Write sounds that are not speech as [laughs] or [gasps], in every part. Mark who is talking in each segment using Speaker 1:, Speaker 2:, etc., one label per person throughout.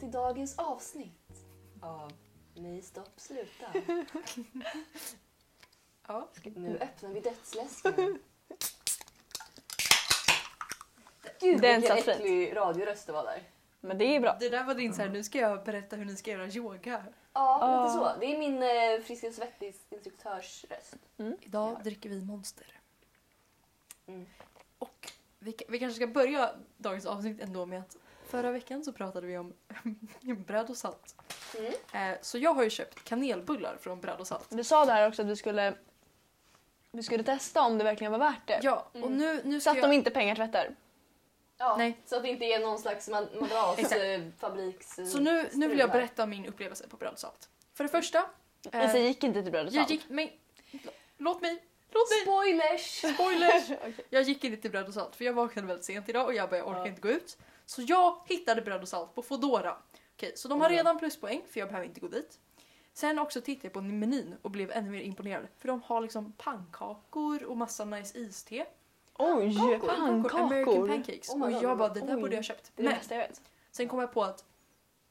Speaker 1: till dagens avsnitt
Speaker 2: Av...
Speaker 1: Nej, stopp, sluta.
Speaker 2: Ja.
Speaker 1: Nu öppnar vi dödsläsken. Gud
Speaker 3: Den
Speaker 1: vilken
Speaker 3: satt fint.
Speaker 1: äcklig radioröst det var där.
Speaker 3: Men det är bra.
Speaker 2: Det där var din såhär, nu ska jag berätta hur ni ska göra yoga.
Speaker 1: Ja,
Speaker 3: Ja.
Speaker 1: lite så. Det är min eh, Frisk och svettis instruktörsröst.
Speaker 2: Idag
Speaker 1: Ja.
Speaker 2: dricker vi monster.
Speaker 1: Mm.
Speaker 2: Och vi, ka- vi kanske ska börja dagens avsnitt ändå med att förra veckan så pratade vi om [laughs] bröd och salt.
Speaker 1: Mm.
Speaker 2: Eh, så jag har ju köpt kanelbullar från bröd och salt.
Speaker 3: Du sa det här också att du skulle, du skulle testa om det verkligen var värt det.
Speaker 2: Ja, och
Speaker 1: Mm.
Speaker 2: nu,
Speaker 3: Så
Speaker 2: nu ska
Speaker 3: att de
Speaker 2: jag...
Speaker 3: inte pengartvättar.
Speaker 1: Ja,
Speaker 2: Nej.
Speaker 1: Så att det inte är någon slags eh, mad-
Speaker 2: Exakt.
Speaker 1: madrasfabriks...
Speaker 2: Så nu, nu vill jag berätta om min upplevelse på bröd och salt. För det första... eh,
Speaker 3: Lisa gick inte typ till bröd och
Speaker 2: jag
Speaker 3: salt.
Speaker 2: gick... Men, låt mig! Låt mig!
Speaker 1: Spoilers! [laughs]
Speaker 2: Spoilers! Jag gick inte till bröd och salt för jag vaknade väldigt sent idag och jag bara jag orkar
Speaker 1: Ja.
Speaker 2: inte gå ut. Så jag hittade bröd och salt på Foodora. Okej, så de har
Speaker 1: Mm.
Speaker 2: redan pluspoäng för jag behöver inte gå dit. Sen också tittade jag på menyn och blev ännu mer imponerad för de har liksom pannkakor och massa nice iste.
Speaker 3: Oj,
Speaker 2: American
Speaker 3: pannkakor.
Speaker 2: pancakes.
Speaker 1: Oh my
Speaker 2: och
Speaker 1: God,
Speaker 2: jag bara det
Speaker 3: vad-
Speaker 2: där
Speaker 3: oj.
Speaker 2: borde jag ha köpt.
Speaker 3: Det är det
Speaker 2: Men
Speaker 3: bästa jag vet.
Speaker 2: sen kom jag på att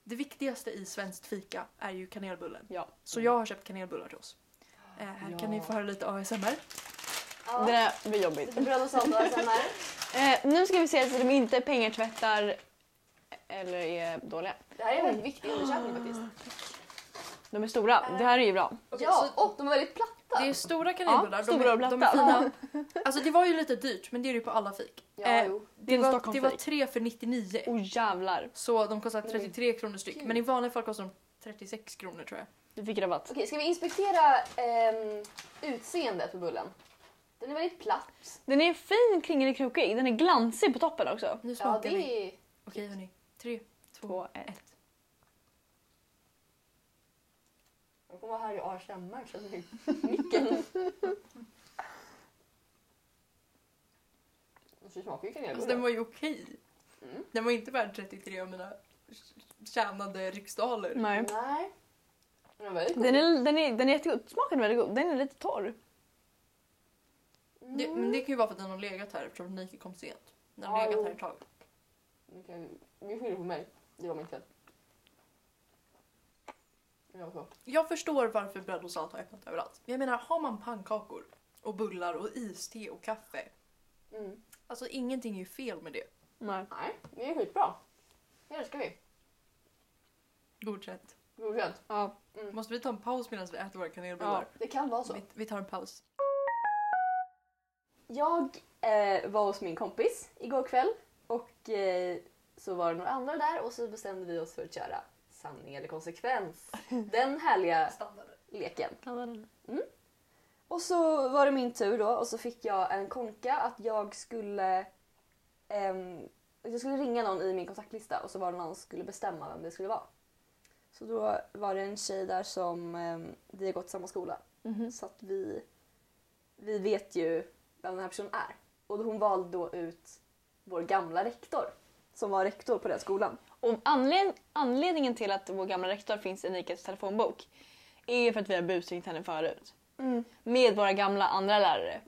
Speaker 2: det viktigaste i svenskt fika är ju kanelbullen.
Speaker 3: Ja.
Speaker 2: Så
Speaker 1: Mm.
Speaker 2: jag har köpt kanelbullar till oss. Eh, här kan ni få höra lite ASMR.
Speaker 1: Ja.
Speaker 3: Det där blir jobbigt.
Speaker 1: Lite bröd och salt och ASMR.
Speaker 3: Eh, nu ska vi se så att de inte pengatvättar eller är dåliga.
Speaker 1: Det här är en väldigt viktig undersökning faktiskt.
Speaker 3: De är stora.
Speaker 2: Eh,
Speaker 3: Det här är ju bra.
Speaker 2: Okej,
Speaker 1: ja,
Speaker 2: så-
Speaker 1: och de är väldigt platta.
Speaker 2: Det är stora kanelbullar.
Speaker 3: Ja, stora och
Speaker 2: de, är, de är
Speaker 3: platta.
Speaker 2: fina. Alltså det var ju lite dyrt men det är det ju på alla fik.
Speaker 1: Ja,
Speaker 2: eh,
Speaker 1: jo.
Speaker 3: Det är
Speaker 2: Det
Speaker 3: en
Speaker 2: var, det
Speaker 3: Stockholmsfik.
Speaker 2: var 3 för 99
Speaker 3: Åh jävlar.
Speaker 2: så de kostar
Speaker 1: Men
Speaker 2: 33 kronor styck.
Speaker 1: gud.
Speaker 2: Men i vanliga fall kostar de 36 kronor tror jag.
Speaker 3: Du fick rabatt.
Speaker 1: Okej, ska vi inspektera ehm, utseendet på bullen? Den är väldigt platt.
Speaker 3: Den är fin, kringlig, krokig. Den är glansig på toppen också.
Speaker 2: Nu smakar
Speaker 1: Ja, det
Speaker 2: vi.
Speaker 1: är...
Speaker 2: Okej hörni. 3, 2,
Speaker 3: Två, ett.
Speaker 2: 1.
Speaker 1: Jag kommer vara här i ASMR känner jag. Micken. [laughs] Det smakar ju
Speaker 2: Alltså den
Speaker 1: kanelbulle.
Speaker 2: var ju okej.
Speaker 1: Mm.
Speaker 2: Den var inte värd 33 av mina tjänade riksdaler.
Speaker 3: Nej.
Speaker 1: Nej. Den är väldigt
Speaker 3: Den är, den, är, den är jättegod. Smaken är väldigt god. Den är lite torr.
Speaker 1: Mm.
Speaker 2: Det, men det kan ju vara för att den har legat här eftersom Nike kom sent. Den har
Speaker 1: Ja,
Speaker 2: legat
Speaker 1: jo.
Speaker 2: här ett tag.
Speaker 1: Ni kan- Ni skyller på mig. Det var mitt fel. Jag var
Speaker 2: Jag förstår varför bröd och salt har öppnat överallt. Men jag menar, har man pannkakor och bullar och iste och kaffe.
Speaker 1: så. Mm.
Speaker 2: Alltså ingenting är ju fel med det.
Speaker 3: Nej.
Speaker 1: Nej, det är skitbra. Det älskar vi.
Speaker 2: Godkänt.
Speaker 1: Godkänt.
Speaker 3: Ja.
Speaker 1: Mm.
Speaker 2: Måste vi ta en paus medan vi äter våra kanelbullar?
Speaker 1: Det kan vara så.
Speaker 2: Vi, vi tar en paus.
Speaker 1: Jag eh, var hos min kompis igår kväll och eh, så var det några andra där och så bestämde vi oss för att köra sanning eller konsekvens. Den härliga leken. Och så var det min tur då och så fick jag en konka att jag skulle ehm, att jag skulle ringa någon i min kontaktlista och så var det någon som skulle bestämma vem det skulle vara. Så då var det en tjej där som ehm, vi har gått samma skola
Speaker 3: Mhm.
Speaker 1: så att vi, vi vet ju vem den här personen är. Och hon valde då ut vår gamla rektor som var rektor på den skolan.
Speaker 3: Och anled, anledningen till att vår gamla rektor finns i Nikas telefonbok är för att vi har busringt henne förut.
Speaker 1: Mm.
Speaker 3: Med våra gamla andra lärare.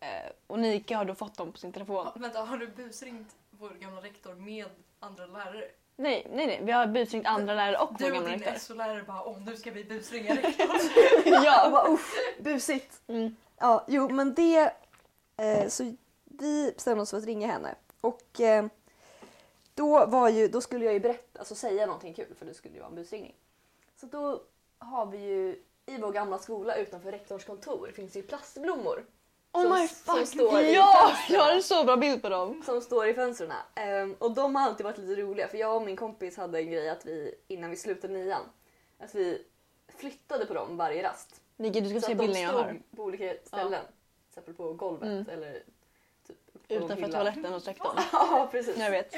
Speaker 3: Eh, och Nika har då fått dem på sin telefon.
Speaker 2: Ja, vänta, har du busringt vår gamla rektor med andra lärare?
Speaker 3: Nej, nej, nej. Vi har busringt andra lärare och vår
Speaker 2: Du och
Speaker 3: gamla
Speaker 2: din
Speaker 3: rektor.
Speaker 2: SO-lärare bara åh nu ska vi busringa rektorn. [laughs]
Speaker 1: Jag bara usch, busigt.
Speaker 3: Mm.
Speaker 1: Ja, jo men det... Eh, så vi bestämde oss för att ringa henne. Och eh, då, var ju, då skulle jag ju berätta, alltså säga någonting kul för det skulle ju vara en busringning. Så då har vi ju i vår gamla skola utanför rektorns kontor finns det ju plastblommor. som-
Speaker 3: Oh my
Speaker 1: som
Speaker 3: fuck!
Speaker 1: står i
Speaker 3: ja!
Speaker 1: fönstren.
Speaker 3: Jag har en så bra bild på dem.
Speaker 1: som står i fönstren. Ehm, och de har alltid varit lite roliga för jag och min kompis hade en grej att vi innan vi slutade nian att vi flyttade på dem varje rast.
Speaker 3: Nika, du ska
Speaker 1: Så
Speaker 3: se
Speaker 1: att de
Speaker 3: bilden jag har.
Speaker 1: stod på olika ställen. Till exempel på golvet
Speaker 3: Mm.
Speaker 1: eller typ på någon
Speaker 3: Utanför
Speaker 1: hylla.
Speaker 3: toaletten hos rektorn.
Speaker 1: [laughs] Ja precis.
Speaker 3: Jag vet.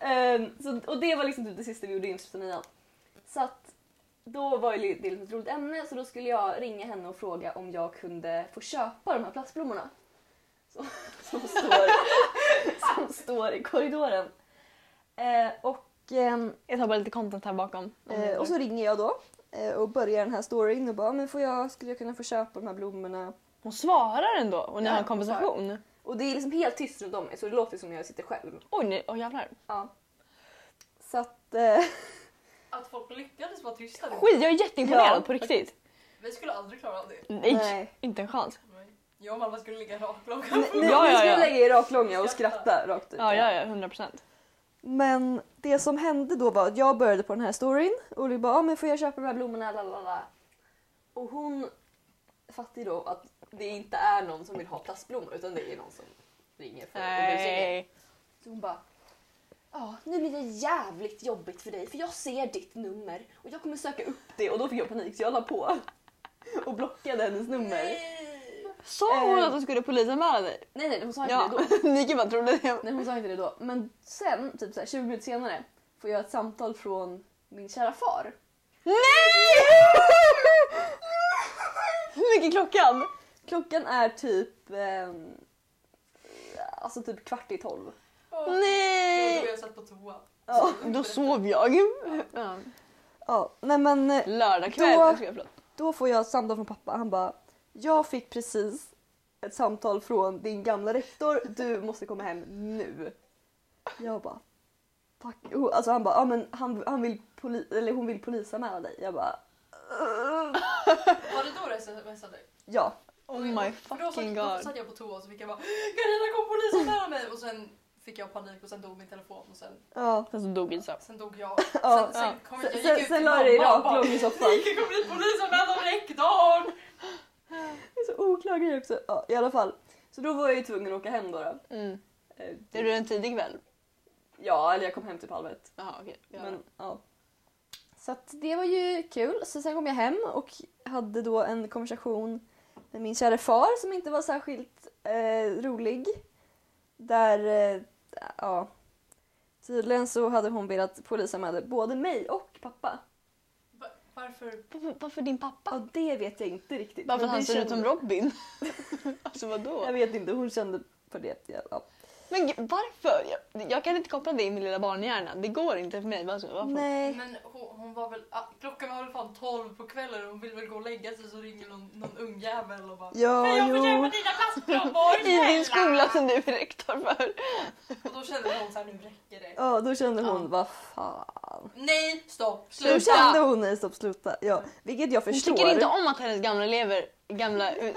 Speaker 1: Ehm, så, och det var liksom typ det sista vi gjorde innan vi slutade nian. Så att då var ju det liksom ett roligt ämne så då skulle jag ringa henne och fråga om jag kunde få köpa de här plastblommorna. Som, [laughs] som, [laughs] står, som står i korridoren. Eh, och, ehm,
Speaker 3: Jag tar bara lite content här bakom.
Speaker 1: eh, och så ringer jag då eh, och börjar den här storyn och bara men får jag, skulle jag kunna få köpa de här blommorna?
Speaker 3: Hon svarar ändå och ni
Speaker 1: Ja,
Speaker 3: har en
Speaker 1: hon svarar.
Speaker 3: konversation.
Speaker 1: Och det är liksom helt tyst runt om mig så det låter som jag sitter själv.
Speaker 3: Oj, ni, oj jävlar.
Speaker 1: Ja. Så att... Eh,
Speaker 2: att folk lyckades vara tysta. nu.
Speaker 3: Skit, jag är jätteimponerad
Speaker 1: Ja.
Speaker 3: på riktigt.
Speaker 2: Vi skulle aldrig klara av det.
Speaker 3: Nej, inte en chans.
Speaker 2: Jag och mamma skulle ligga raklånga.
Speaker 1: Ni, ni,
Speaker 3: Ja,
Speaker 1: ni
Speaker 3: ja,
Speaker 1: skulle
Speaker 3: ja.
Speaker 1: lägga er raklånga och skratta rakt ut.
Speaker 3: Ja, ja, ja, 100 procent.
Speaker 1: Men det som hände då var att jag började på den här storyn. Och du bara, ah, men får jag köpa de här blommorna? Lalala. Och hon fattar ju då att det inte är någon som vill ha plastblommor utan det är någon som ringer för och busringer.
Speaker 3: Nej.
Speaker 1: Så hon bara, ja nu blir det jävligt jobbigt för dig för jag ser ditt nummer och jag kommer söka upp det och då fick jag panik så jag la på [laughs] och blockade hennes nummer. Nej
Speaker 3: Sa hon
Speaker 1: Eh.
Speaker 3: att hon skulle polisanmäla dig?
Speaker 1: nej, hon sa inte
Speaker 3: Ja,
Speaker 1: det då.
Speaker 3: [laughs] Niki bara trodde det.
Speaker 1: Nej, hon sa inte det då. Men sen, typ så här, 20 minuter senare, får jag ett samtal från min kära [laughs] far.
Speaker 3: Nej! Hur mycket klockan?
Speaker 1: Klockan är typ, ehm, alltså typ kvart i tolv.
Speaker 2: Nej! Då
Speaker 3: Nej!
Speaker 2: jag satt på toa.
Speaker 1: Ja,
Speaker 3: Då sov jag. Ja.
Speaker 1: ja nej men eh,
Speaker 3: Lördag kväll.
Speaker 1: Då-
Speaker 3: jag skojar, förlåt.
Speaker 1: Då får jag ett samtal från pappa. Han bara, jag fick precis ett samtal från din gamla rektor. Du måste komma hem nu. Jag bara, tack. Oh, Alltså han bara, ja men han, han vill poli- eller hon vill polisanmäla dig. Jag bara, "Ugh."
Speaker 2: Var det då du smsade?
Speaker 1: ja.
Speaker 3: Oh my
Speaker 2: För då satt,
Speaker 3: fucking
Speaker 2: Då
Speaker 3: god.
Speaker 2: satt jag på toa och så fick jag bara Carina kom polisen nära mig och sen fick jag panik och sen dog min telefon och sen,
Speaker 1: Ja.
Speaker 3: Sen så dog Isa.
Speaker 2: sen dog
Speaker 1: [laughs]
Speaker 2: jag. Sen,
Speaker 1: Ja.
Speaker 2: sen, kom jag, jag
Speaker 1: Sen,
Speaker 2: gick
Speaker 1: sen,
Speaker 2: ut
Speaker 1: sen
Speaker 2: till
Speaker 1: la jag dig
Speaker 2: mamma och bara,
Speaker 1: raklång i soffan.
Speaker 2: Niki kom dit polisen med rektorn!
Speaker 1: Det är så oklar grej också. Ja, I alla fall. Så då var jag ju tvungen att åka hem då. då.
Speaker 3: Mm.
Speaker 1: Eh,
Speaker 3: Det är en tidig kväll.
Speaker 1: Ja, eller jag kom hem typ halv ett.
Speaker 3: Jaha okej. Ja.
Speaker 1: Men, ja. Så att det var ju kul. Så sen kom jag hem och hade då en konversation med min kära far som inte var särskilt eh, rolig. Där, eh, ja. Tydligen så hade hon velat polisanmäla både mig och pappa.
Speaker 2: Va- Varför?
Speaker 3: Varför, varför din pappa?
Speaker 1: Ja, det vet jag inte riktigt.
Speaker 3: Varför
Speaker 1: Men
Speaker 3: han
Speaker 1: det
Speaker 3: ser ut
Speaker 1: kände-
Speaker 3: som [laughs] Robin? alltså
Speaker 1: Jag
Speaker 3: vadå?
Speaker 1: vet inte, hon kände för det. Ja, ja.
Speaker 3: Men gud, varför? Jag, jag kan inte koppla det i min lilla barnhjärna. Det går inte för mig. Varför? varför?
Speaker 1: Nej.
Speaker 2: Men hon, hon var väl, ah, klockan var väl fan 12 på kvällen och hon vill väl gå och lägga sig så ringer någon, någon ung jävel och bara
Speaker 1: Ja,
Speaker 2: "Hej, jag får
Speaker 1: jo.
Speaker 2: köpa dina plastblommor!
Speaker 3: I din skola
Speaker 2: snälla!"
Speaker 3: som du är rektor för.
Speaker 2: Och då kände hon såhär, nu räcker det.
Speaker 1: Ja, då kände hon,
Speaker 3: Ja.
Speaker 1: vad fan.
Speaker 2: Nej, stopp,
Speaker 1: Då
Speaker 2: sluta!
Speaker 1: kände hon nej stopp sluta. Ja, vilket jag
Speaker 3: Hon
Speaker 1: förstår.
Speaker 3: tycker inte om att hennes gamla elever, gamla [laughs] eh,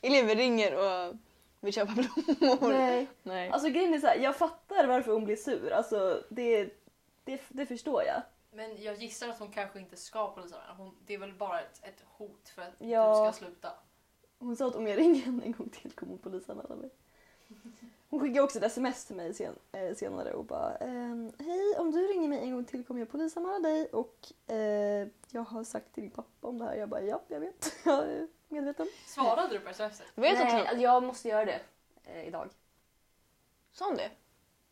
Speaker 3: elever ringer och vill köpa blommor.
Speaker 1: Nej.
Speaker 3: Nej.
Speaker 1: Alltså grejen är så här, jag fattar varför hon blir sur. Alltså det, det, det förstår jag.
Speaker 2: Men jag gissar att hon kanske inte ska polisanmäla. Hon, det är väl bara ett, ett hot för att
Speaker 1: Ja.
Speaker 2: du ska sluta.
Speaker 1: Hon sa att om jag ringer henne en gång till kommer hon polisanmäla mig. Hon skickade också ett sms till mig sen, eh, senare och bara ehm, Hej, om du ringer mig en gång till kommer jag polisanmäla dig och eh, jag har sagt till din pappa om det här. Jag bara ja, jag vet. [laughs] Jag är medveten.
Speaker 2: Svarade du på smset?
Speaker 3: Vet du att hon
Speaker 4: alltså,
Speaker 1: jag måste göra det
Speaker 4: eh,
Speaker 1: idag.
Speaker 3: sa hon det?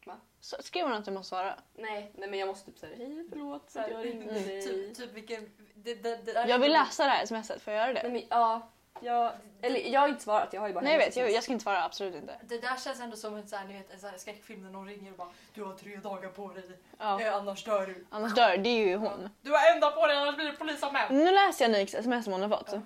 Speaker 1: Va?
Speaker 3: Så- Skrev hon att du måste svara?
Speaker 1: Nej, nej men jag måste typ säga hej förlåt
Speaker 2: för att jag ringde Typ,
Speaker 1: dig.
Speaker 2: typ vilken... Det, det, det där
Speaker 3: Jag vill läsa det här smset, får jag göra det?
Speaker 1: men ja, jag, eller jag har inte svarat, jag har ju bara
Speaker 3: Nej jag vet, jag, jag ska inte svara, absolut inte.
Speaker 2: Det där känns ändå som en, så här, ni vet, en så här skräckfilm när någon ringer och bara Du har tre dagar på dig,
Speaker 3: Ja.
Speaker 2: eh, annars dör du.
Speaker 3: Annars dör det är ju hon.
Speaker 2: Du har en dag på dig, annars blir du polisanmäld.
Speaker 3: Nu läser jag Nikes sms som hon har fått.
Speaker 2: Ja.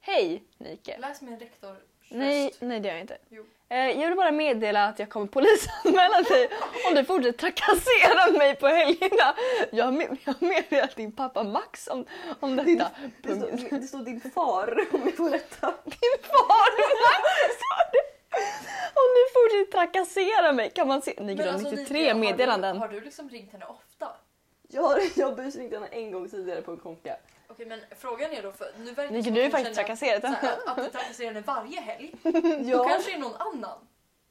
Speaker 3: Hej Nike.
Speaker 2: Läs min rektor röst.
Speaker 3: Nej, nej det gör jag inte.
Speaker 2: Jo.
Speaker 3: Eh, jag vill bara meddela att jag kommer [laughs] polisanmäla dig om du fortsätter trakassera mig på helgerna. Jag har med- jag har meddelat din pappa Max om, om detta.
Speaker 1: Det
Speaker 3: Punkt.
Speaker 1: står, det står din far [laughs] om vi får rätta.
Speaker 3: Din far [laughs] Max sa det. Om du fortsätter trakassera mig kan man se... Nike har 93
Speaker 2: Nike, alltså, har
Speaker 3: meddelanden.
Speaker 2: Du, har du liksom ringt henne ofta?
Speaker 1: Jag har, jag har busringt henne en gång tidigare på en konka.
Speaker 2: Okej men frågan är då för nu verkar det
Speaker 3: Nike
Speaker 2: som
Speaker 3: du har
Speaker 2: att
Speaker 3: ju faktiskt
Speaker 2: känner
Speaker 3: trakasserat
Speaker 2: att- så
Speaker 3: henne.
Speaker 2: här, att- Att du trakasserar henne
Speaker 3: [laughs]
Speaker 2: varje helg. Då
Speaker 1: Ja,
Speaker 2: kanske det är någon annan.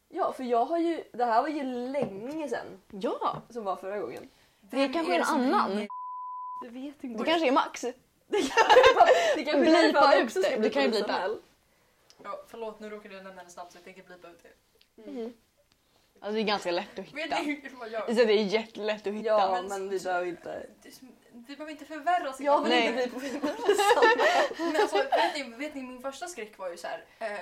Speaker 1: ja, för jag har ju, det här var ju länge sedan
Speaker 3: Ja,
Speaker 1: som var förra gången.
Speaker 3: det
Speaker 2: Vem
Speaker 3: kanske är
Speaker 2: det
Speaker 3: en
Speaker 2: som
Speaker 3: annan.
Speaker 2: ringer?
Speaker 1: Du vet inte.
Speaker 3: Det kanske är Max.
Speaker 1: det kanske
Speaker 3: Blipa
Speaker 1: därför han
Speaker 3: ut
Speaker 1: också
Speaker 3: det,
Speaker 1: ska
Speaker 3: du
Speaker 1: bli
Speaker 3: kan ju blipa.
Speaker 1: polisanmäld.
Speaker 2: Ja, förlåt, nu råkade jag nämna hennes namn så jag tänker blipa ut det.
Speaker 1: Mm.
Speaker 3: Alltså det är ganska lätt att
Speaker 2: Vet
Speaker 3: hitta.
Speaker 2: ni hur man gör?
Speaker 3: Isa, Det är jättelätt att hitta.
Speaker 1: Ja, men vi behöver inte.
Speaker 2: Vi behöver inte förvärra
Speaker 1: Jag vill
Speaker 3: Nej.
Speaker 1: inte bli polisanmäld.
Speaker 2: Men alltså, vet, ni, vet ni, min första skräck var ju så här. Eh,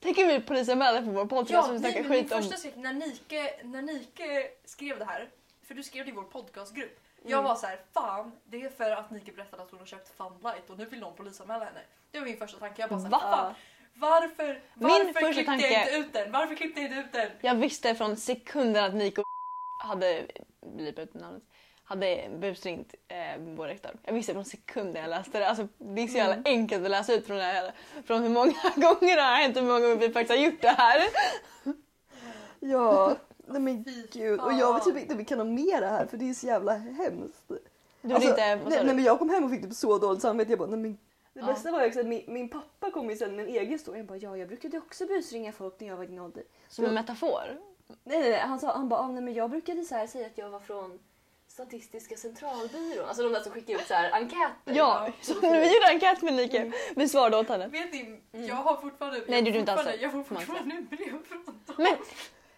Speaker 3: Tänk om vi polisanmäler på vår podcast
Speaker 2: ja,
Speaker 3: som vi
Speaker 2: nej,
Speaker 3: snackar
Speaker 2: men min
Speaker 3: skit om.
Speaker 2: första skräck när Nike, när Nike skrev det här, för du skrev det i vår podcastgrupp. Jag
Speaker 1: Mm.
Speaker 2: var så här, fan, det är för att Nike berättade att hon har köpt Funlight och nu vill någon polisanmäla henne. Det var min första tanke. Jag bara så här,
Speaker 3: Va?
Speaker 2: fan, varför,
Speaker 3: Min
Speaker 2: varför
Speaker 3: första
Speaker 2: klippte
Speaker 3: tanke-
Speaker 2: jag inte ut den? Varför klippte jag inte ut den?
Speaker 3: Jag visste från sekunden att Nico hade blivit ut namnet. hade busringt eh, vår rektor. Jag visste på en sekund när jag läste det. Alltså, det är så jävla enkelt att läsa ut från, det här, från hur många [laughs] gånger det har hänt och hur många gånger vi faktiskt har gjort det här.
Speaker 4: [laughs]
Speaker 1: Ja, nej men gud. Och jag vet
Speaker 2: fan.
Speaker 1: typ inte om vi kan ha mer det här för det är så jävla hemskt.
Speaker 3: Du
Speaker 1: Alltså,
Speaker 3: vet inte, vad sa
Speaker 1: nej, nej
Speaker 3: du?
Speaker 1: men jag kom hem och fick typ så dåligt samvete. Jag bara, nej men
Speaker 4: Det
Speaker 3: Ja.
Speaker 4: bästa var ju också att min, min pappa kom ju sen med en egen historia. Han bara ja, jag brukade också busringa folk när jag var i din ålder.
Speaker 3: Som en metafor.
Speaker 4: Nej, nej, nej. Han, sa, han bara, ah, nej, men jag brukade så här säga att jag var från Statistiska centralbyrån. Alltså de där som skickar ut så här enkäter.
Speaker 3: Ja, så när [laughs] vi gjorde enkät med Nike, vi svarade åt henne.
Speaker 2: Vet ni, jag har fortfarande...
Speaker 3: Mm. Nej, det är du inte alls.
Speaker 2: fortfarande- Jag får
Speaker 3: Max.
Speaker 2: fortfarande brev från dem.
Speaker 3: Men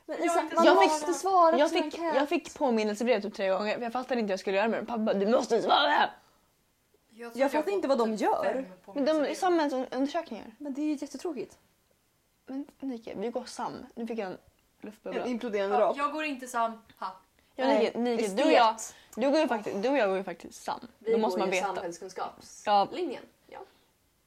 Speaker 4: Men
Speaker 2: Jag
Speaker 4: Isak,
Speaker 2: har inte
Speaker 4: man
Speaker 3: svarat.
Speaker 4: måste svara på
Speaker 3: jag
Speaker 4: sin
Speaker 3: fick,
Speaker 4: enkät.
Speaker 3: jag fick påminnelsebrev typ tre gånger för jag fattade inte vad jag skulle göra med dem. Pappa bara, du måste svara!
Speaker 2: tror
Speaker 1: Jag fattar
Speaker 2: får
Speaker 1: inte vad de
Speaker 2: typ
Speaker 1: gör.
Speaker 2: fem
Speaker 3: Men de är
Speaker 2: påminnelser.
Speaker 3: samhällsundersökningar.
Speaker 1: Men det är ju jättetråkigt.
Speaker 3: Men Nike, vi går sam. Nu fick jag en luftbubbla.
Speaker 1: En imploderande
Speaker 2: Ja,
Speaker 1: rap.
Speaker 2: jag går inte sam. Ha.
Speaker 3: Ja, Nike, Nike du, och jag, du, går ju faktiskt, du och jag går ju faktiskt sam.
Speaker 4: Vi
Speaker 3: Då måste
Speaker 4: går
Speaker 3: man
Speaker 4: ju
Speaker 3: veta. Ja.
Speaker 4: samhällskunskapslinjen. Ja.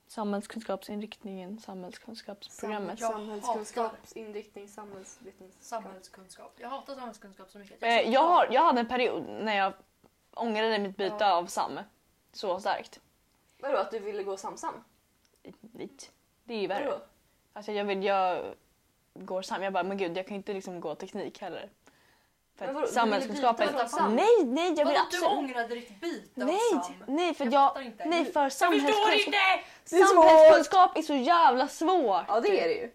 Speaker 3: Samhällskunskapsinriktningen, samhällskunskapsprogrammet.
Speaker 2: Jag
Speaker 4: Samhällskunskapsinriktning, samhällsvetenskap.
Speaker 2: Samhällskunskap. Jag hatar samhällskunskap så mycket.
Speaker 3: Eh, Jag, har, jag hade en period när jag ångrade mitt byte
Speaker 2: Ja.
Speaker 3: av sam. Så starkt.
Speaker 4: Vadå att du ville gå samsam?
Speaker 3: Lite. Det är ju värre.
Speaker 4: Vadå?
Speaker 3: Alltså jag, vill, jag går sam. Jag bara, men gud jag kan ju inte liksom gå teknik heller. För
Speaker 4: Men vadå,
Speaker 3: att
Speaker 4: du
Speaker 3: samhällskunskapen...
Speaker 4: ville byta från sam?
Speaker 3: Nej, nej jag vill
Speaker 2: Vadå, du
Speaker 3: absolut...
Speaker 2: ångrade ditt byte
Speaker 3: Nej,
Speaker 2: av sam?
Speaker 3: nej för
Speaker 2: Jag
Speaker 3: jag...
Speaker 2: fattar inte.
Speaker 3: Nej för
Speaker 2: Jag förstår
Speaker 3: samhällskunskap...
Speaker 2: inte!
Speaker 1: Det är svårt!
Speaker 3: Samhällskunskap är så jävla svårt!
Speaker 4: Ja
Speaker 1: Typ.
Speaker 4: det är det ju.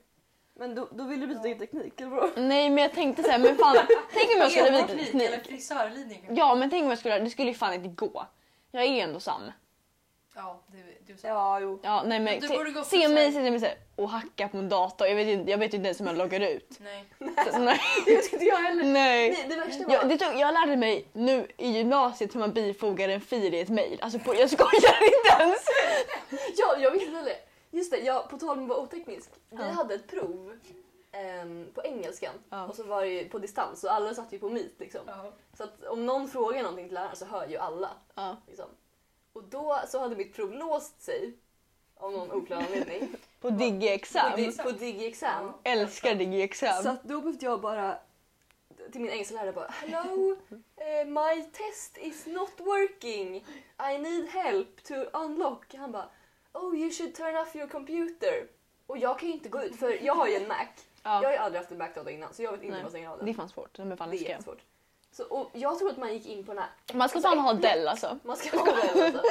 Speaker 1: Men då, då vill du byta till teknik eller vadå?
Speaker 3: Nej men jag tänkte såhär, men fan. tänk om jag skulle byta
Speaker 2: Enbart lik eller
Speaker 3: teknik.
Speaker 2: frisörlinje kanske?
Speaker 3: Ja men tänk om jag skulle det skulle ju fan inte gå. Jag är ju ändå sam.
Speaker 2: Ja, det, du sa.
Speaker 1: Ja, jo.
Speaker 3: Ja, nej, men,
Speaker 2: Men du
Speaker 3: se-
Speaker 2: borde gå
Speaker 3: se
Speaker 2: för
Speaker 3: mig
Speaker 2: sig.
Speaker 3: sitta med såhär och hacka på en dator. Jag vet ju, jag vet ju inte ens hur man loggar ut.
Speaker 2: Nej.
Speaker 3: Så, nej.
Speaker 4: Det vet inte jag heller.
Speaker 3: nej.
Speaker 4: Nej, det värsta var...
Speaker 3: Jag, det tog, jag lärde mig nu i gymnasiet hur man bifogar en fil i ett mejl. Alltså på, jag skojar inte ens!
Speaker 4: [laughs] Ja, jag visste heller. Just det, jag, på tal om att vara oteknisk. Vi
Speaker 3: Ja.
Speaker 4: hade ett prov ehm, på engelskan
Speaker 3: Ja.
Speaker 4: och så var det ju på distans och alla satt ju på meet liksom.
Speaker 2: Ja.
Speaker 4: Så att om någon frågar någonting till läraren så hör ju alla.
Speaker 3: Ja.
Speaker 4: Liksom. Och då så hade mitt prov låst sig av någon oklar
Speaker 3: [laughs]
Speaker 4: anledning
Speaker 3: På DigiExam.
Speaker 4: på, dig, på Digi-exam.
Speaker 3: Älskar
Speaker 4: Så
Speaker 3: DigiExam.
Speaker 4: att då behövde jag bara till min engelska lärare bara Hello, eh, my test is not working. I need help to unlock. Han bara Oh you should turn off your computer. Och jag kan ju inte gå ut för jag har ju en Mac. Jag har
Speaker 3: Ja.
Speaker 4: ju aldrig haft en Mac-dator innan så jag vet inte
Speaker 3: Nej.
Speaker 4: vad jag stänger av
Speaker 3: Det är
Speaker 4: den.
Speaker 3: fan svårt. De är fan
Speaker 4: Det är
Speaker 3: läskiga.
Speaker 4: jättesvårt. Så, och jag tror att man gick in på den här
Speaker 3: Man ska fan ha Dell alltså. [laughs]
Speaker 4: man ska ha den alltså.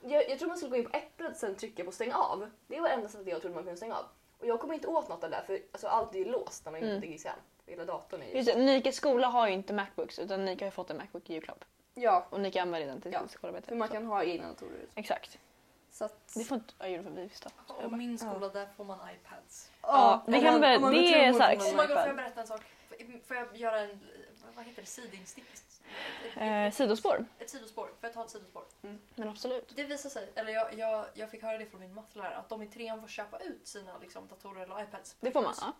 Speaker 4: jag, jag tror man skulle gå in på Äpplet och sen trycka på stäng av. Det var det enda sättet jag trodde man kunde stänga av. Och jag kommer inte åt något av det där för alltså, allt är ju låst när man
Speaker 3: Mm.
Speaker 4: inte mm. exam. Hela datorn är ju...
Speaker 3: Just det, Nikes skola har ju inte Macbooks utan Nike har ju fått en Macbook i julklapp.
Speaker 4: Ja,
Speaker 3: Och Nike använder den till
Speaker 4: Ja,
Speaker 3: sitt skolarbete.
Speaker 4: för man
Speaker 3: Så-
Speaker 4: kan ha egna datorer.
Speaker 3: Exakt.
Speaker 4: Så att...
Speaker 3: Det får inte... Ja, julofobi visst. då.
Speaker 2: Och min skola, där får man iPads.
Speaker 3: Ja, det
Speaker 1: om
Speaker 3: kan
Speaker 1: man-
Speaker 3: väl-
Speaker 1: om man
Speaker 3: det
Speaker 1: går till
Speaker 3: är
Speaker 1: mormor
Speaker 3: starkt.
Speaker 1: får
Speaker 2: Oh
Speaker 1: man
Speaker 2: my
Speaker 1: en
Speaker 2: god, får jag
Speaker 1: iPad.
Speaker 2: berätta en sak? Får- Får jag göra en, vad heter det, sidinstick?
Speaker 3: Eh, sidospår.
Speaker 2: Ett sidospår. Får jag ta ett sidospår?
Speaker 3: Men absolut.
Speaker 2: Det visar sig, eller jag, jag, jag fick höra det från min mattelärare, att de i trean får köpa ut sina liksom, datorer eller iPads.
Speaker 3: Det får man. Ja.